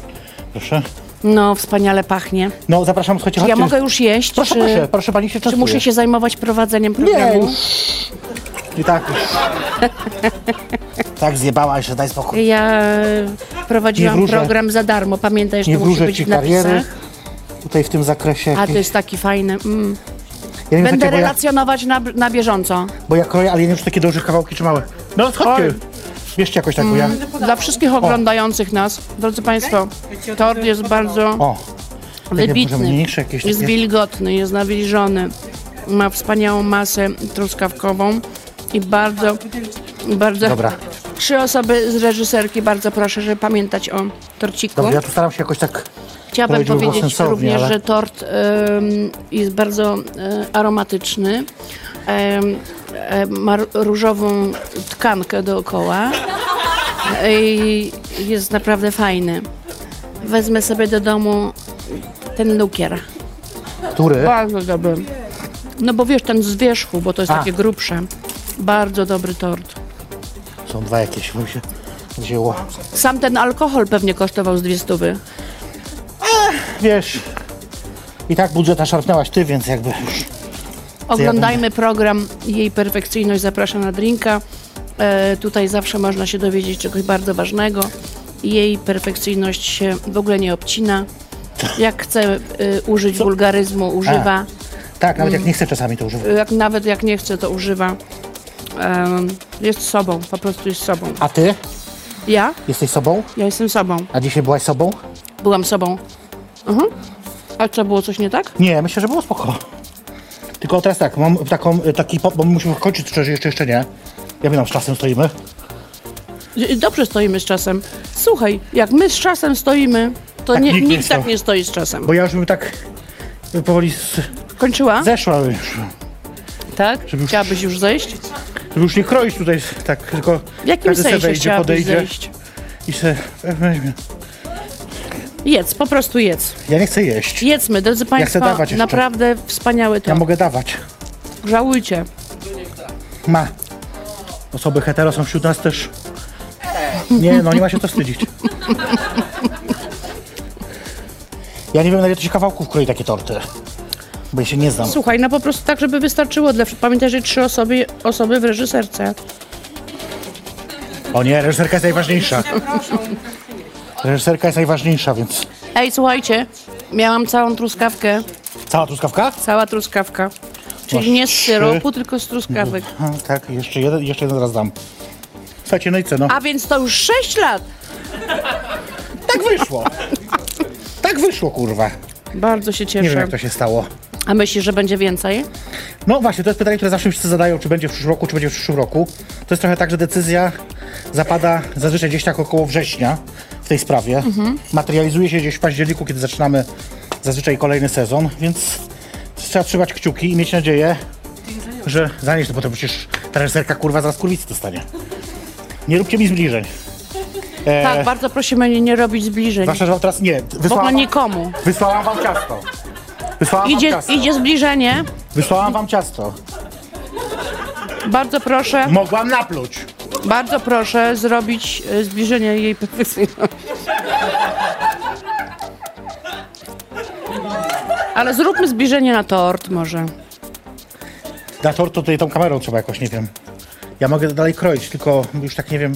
S3: Proszę.
S2: No, wspaniale pachnie.
S3: No, zapraszam, słuchajcie,
S2: Ja
S3: chodźcie.
S2: mogę już jeść?
S3: Proszę,
S2: czy,
S3: proszę, proszę, pani się
S2: Czy
S3: czasuje.
S2: muszę się zajmować prowadzeniem
S3: Nie,
S2: programu?
S3: już. I tak już. Tak zjebałaś, że daj spokój.
S2: Ja e,
S3: Nie
S2: prowadziłam
S3: wróżę.
S2: program za darmo. Pamiętaj, że
S3: Nie
S2: to musi
S3: wróżę
S2: być
S3: ci
S2: w napisach.
S3: kariery. Tutaj w tym zakresie.
S2: A to
S3: jakiejś-
S2: jest taki fajny. Mm.
S3: ja nie
S2: Będę
S3: wiem, takie, bo, ja,
S2: relacjonować na, na bieżąco.
S3: bo ja kroję, ale ja nie wiem, czy takie duże kawałki czy małe. No,
S2: Oj.
S3: chodźcie. Bierzcie jakoś taką ja.
S2: Dla wszystkich oglądających nas, drodzy Państwo, tort jest bardzo
S3: O, może
S2: wybitny,
S3: mniejsze jakieś
S2: jest
S3: takie.
S2: wilgotny, jest nawilżony, ma wspaniałą masę truskawkową i bardzo, bardzo...
S3: Dobra.
S2: Trzy osoby z reżyserki, bardzo proszę, żeby pamiętać o torciku.
S3: Dobrze, ja tu staram się jakoś tak.
S2: Chciałabym
S3: Powiedział
S2: powiedzieć
S3: sensownie,
S2: również,
S3: ale-
S2: że tort em, jest bardzo em, aromatyczny. Em, em, ma r- różową tkankę dookoła i jest naprawdę fajny. Wezmę sobie do domu ten lukier.
S3: Który?
S2: Bardzo dobry. No bo wiesz, ten z wierzchu, bo to jest
S3: A.
S2: takie grubsze. Bardzo dobry tort.
S3: Są dwa jakieś, bo mi się wzięło.
S2: Sam ten alkohol pewnie kosztował z dwie stówy.
S3: Wiesz, i tak budżeta szarpnęłaś ty, więc jakby już
S2: Oglądajmy program Jej Perfekcyjność Zaprasza na Drinka. E, tutaj zawsze można się dowiedzieć czegoś bardzo ważnego. Jej perfekcyjność się w ogóle nie obcina. Jak chce e, użyć wulgaryzmu, używa.
S3: Tak, nawet jak nie chcę czasami to używać.
S2: Jak, nawet jak nie chce, to używa. Em, jest sobą, po prostu jest sobą.
S3: A ty?
S2: Ja?
S3: Jesteś sobą?
S2: Ja jestem sobą.
S3: A dzisiaj byłaś sobą?
S2: Byłam sobą. Mhm. A co, było coś nie tak?
S3: Nie, myślę, że było spoko. Tylko teraz tak, mam taką, taki, po- bo musimy kończyć, czy jeszcze, jeszcze nie. Ja wiem, z czasem stoimy.
S2: Y- Dobrze stoimy z czasem. Słuchaj, jak my z czasem stoimy, to
S3: Tak,
S2: nie,
S3: nikt
S2: nikt,
S3: nie stał.
S2: tak nie stoi z czasem.
S3: Bo ja już bym tak y, powoli z,
S2: Kończyła?
S3: zeszła już.
S2: tak?
S3: już-
S2: Chciałabyś już zejść?
S3: Żeby już nie kroić tutaj tak, tylko
S2: W jakim
S3: każdy se
S2: sensie
S3: wejdzie,
S2: chciałabyś
S3: podejdzie
S2: zejść?
S3: i se weźmie.
S2: Jedz, po prostu jedz.
S3: Ja nie chcę jeść.
S2: Jedzmy, drodzy
S3: chcę
S2: Państwo,
S3: dawać jeszcze.
S2: naprawdę wspaniały to.
S3: Ja mogę dawać.
S2: Żałujcie.
S3: Ma. Osoby hetero są wśród nas też. Nie, no nie ma się to wstydzić. Ja nie wiem, na ile to się kawałków kroi takie torty. Bo ja się nie znam.
S2: Słuchaj, no po prostu tak, żeby wystarczyło dla... Pamiętaj, że trzy osoby, osoby w reżyserce.
S3: O nie, reżyserka jest najważniejsza. Reżyserka jest najważniejsza, więc...
S2: Ej, słuchajcie, miałam całą truskawkę,
S3: Cała truskawka?
S2: cała truskawka. Czyli
S3: Masz
S2: nie z
S3: trzy.
S2: syropu, tylko z truskawek.
S3: Aha, tak, jeszcze jeden, jeszcze jeden raz dam. Słuchajcie, no i co, no.
S2: A tak więc to już 6 lat.
S3: Tak wyszło. Tak wyszło, kurwa.
S2: Bardzo się
S3: Nie wiem,
S2: cieszę.
S3: jak to się stało.
S2: A myślisz, że będzie więcej?
S3: No właśnie, to jest pytanie, które zawsze wszyscy zadają, czy będzie w przyszłym roku, czy będzie w przyszłym roku. To jest trochę tak, że decyzja zapada zazwyczaj gdzieś tak około września w tej sprawie. Materializuje się gdzieś w październiku, kiedy zaczynamy zazwyczaj kolejny sezon, więc trzeba trzymać kciuki i mieć nadzieję, że zanieś to potem przecież ta reżyserka kurwa zaraz kurwicy dostanie. Nie róbcie mi zbliżeń. E.
S2: Tak, bardzo prosimy nie, nie robić zbliżeń.
S3: Zwłaszcza, że wam teraz nie,
S2: W ogóle
S3: wysłałam,
S2: nikomu.
S3: wysłałam wam ciasto. Wysłałam wam
S2: Idzie,
S3: ciasto.
S2: idzie zbliżenie.
S3: Wysłałam wam ciasto.
S2: Bardzo proszę,
S3: Mogłam napluć.
S2: bardzo proszę zrobić e, zbliżenie jej perfekcyjności. Ale zróbmy zbliżenie na tort może.
S3: Na tort to tutaj tą kamerą trzeba jakoś, nie wiem. Ja mogę dalej kroić, tylko już tak nie wiem,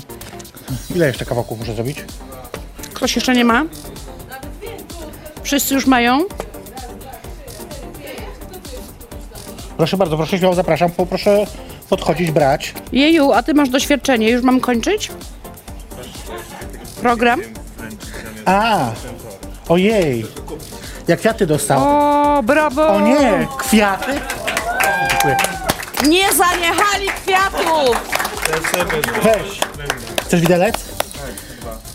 S3: ile jeszcze kawałków muszę zrobić.
S2: Ktoś jeszcze nie ma? Wszyscy już mają?
S3: Proszę bardzo, proszę śmiało, zapraszam, poproszę podchodzić, brać.
S2: Jeju, a ty masz doświadczenie, już mam kończyć? Program?
S3: A, ojej, jak kwiaty dostał.
S2: O, brawo!
S3: O nie, kwiaty? Dziękuję.
S4: Nie zaniechali kwiatów!
S3: Weź, chcesz widelec?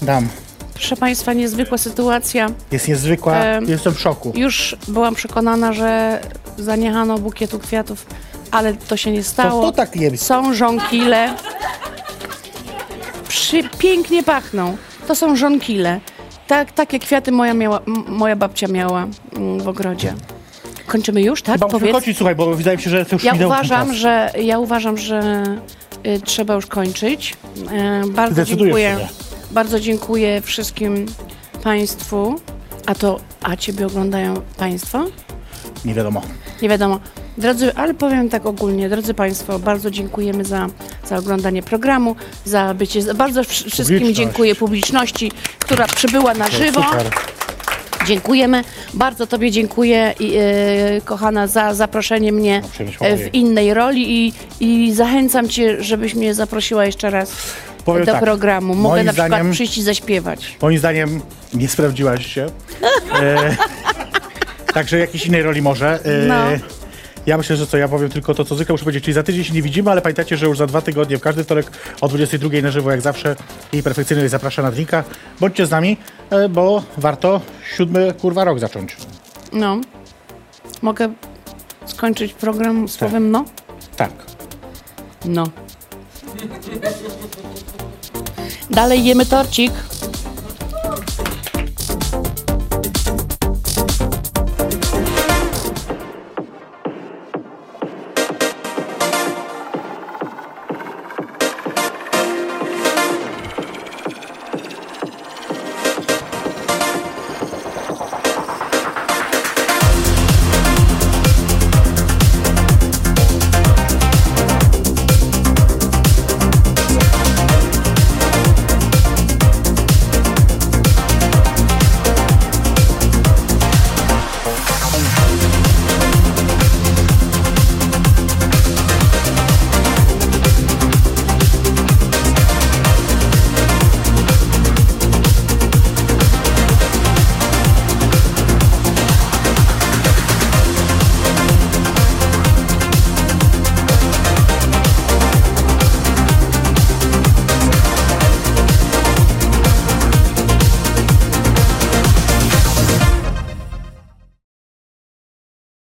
S3: Dam.
S2: Proszę Państwa, niezwykła sytuacja.
S3: Jest niezwykła,
S2: Em.
S3: jestem w szoku.
S2: Już byłam przekonana, że zaniechano bukietu kwiatów, ale to się nie stało.
S3: To- to tak jest.
S2: Są żonkile. Przy, pięknie pachną. To są żonkile. Tak, takie kwiaty moja, miała, m- moja babcia miała mm, w ogrodzie. Kończymy już, tak?
S3: Chyba musimy
S2: Powiedz.
S3: kończyć, słuchaj, bo wydaje mi się, że to już
S2: Ja
S3: minął ten
S2: uważam,
S3: czas.
S2: że, ja uważam, że y, trzeba już kończyć. E, bardzo
S3: Decydujesz
S2: dziękuję.
S3: sobie.
S2: Bardzo dziękuję wszystkim Państwu. A to, a Ciebie oglądają Państwo?
S3: Nie wiadomo.
S2: Nie wiadomo. Drodzy, ale powiem tak ogólnie, drodzy Państwo, bardzo dziękujemy za, za oglądanie programu, za bycie. za- Bardzo wsz- wszystkim
S3: Publiczność.
S2: dziękuję publiczności, która przybyła na żywo.
S3: Super.
S2: Dziękujemy. Bardzo Tobie dziękuję, i, e, kochana, za zaproszenie mnie
S3: przyjemność
S2: e,
S3: mojej.
S2: w innej roli i, i zachęcam Cię, żebyś mnie zaprosiła jeszcze raz
S3: Powiem
S2: do
S3: tak,
S2: programu. Mogę
S3: moim
S2: na przykład
S3: zdaniem-
S2: przyjść i zaśpiewać.
S3: Moim zdaniem nie sprawdziłaś się. E, także jakiejś innej roli może. E,
S2: No.
S3: Ja myślę, że co, ja powiem tylko to, co zwykle muszę powiedzieć, czyli za tydzień się nie widzimy, ale pamiętajcie, że już za dwa tygodnie, w każdy wtorek o 22 na żywo, jak zawsze, jej perfekcyjność zaprasza na drinka. Bądźcie z nami, e, bo warto siódmy, kurwa, rok zacząć.
S2: No. Mogę skończyć program z słowem no?
S3: Tak.
S2: No. Dalej jemy torcik.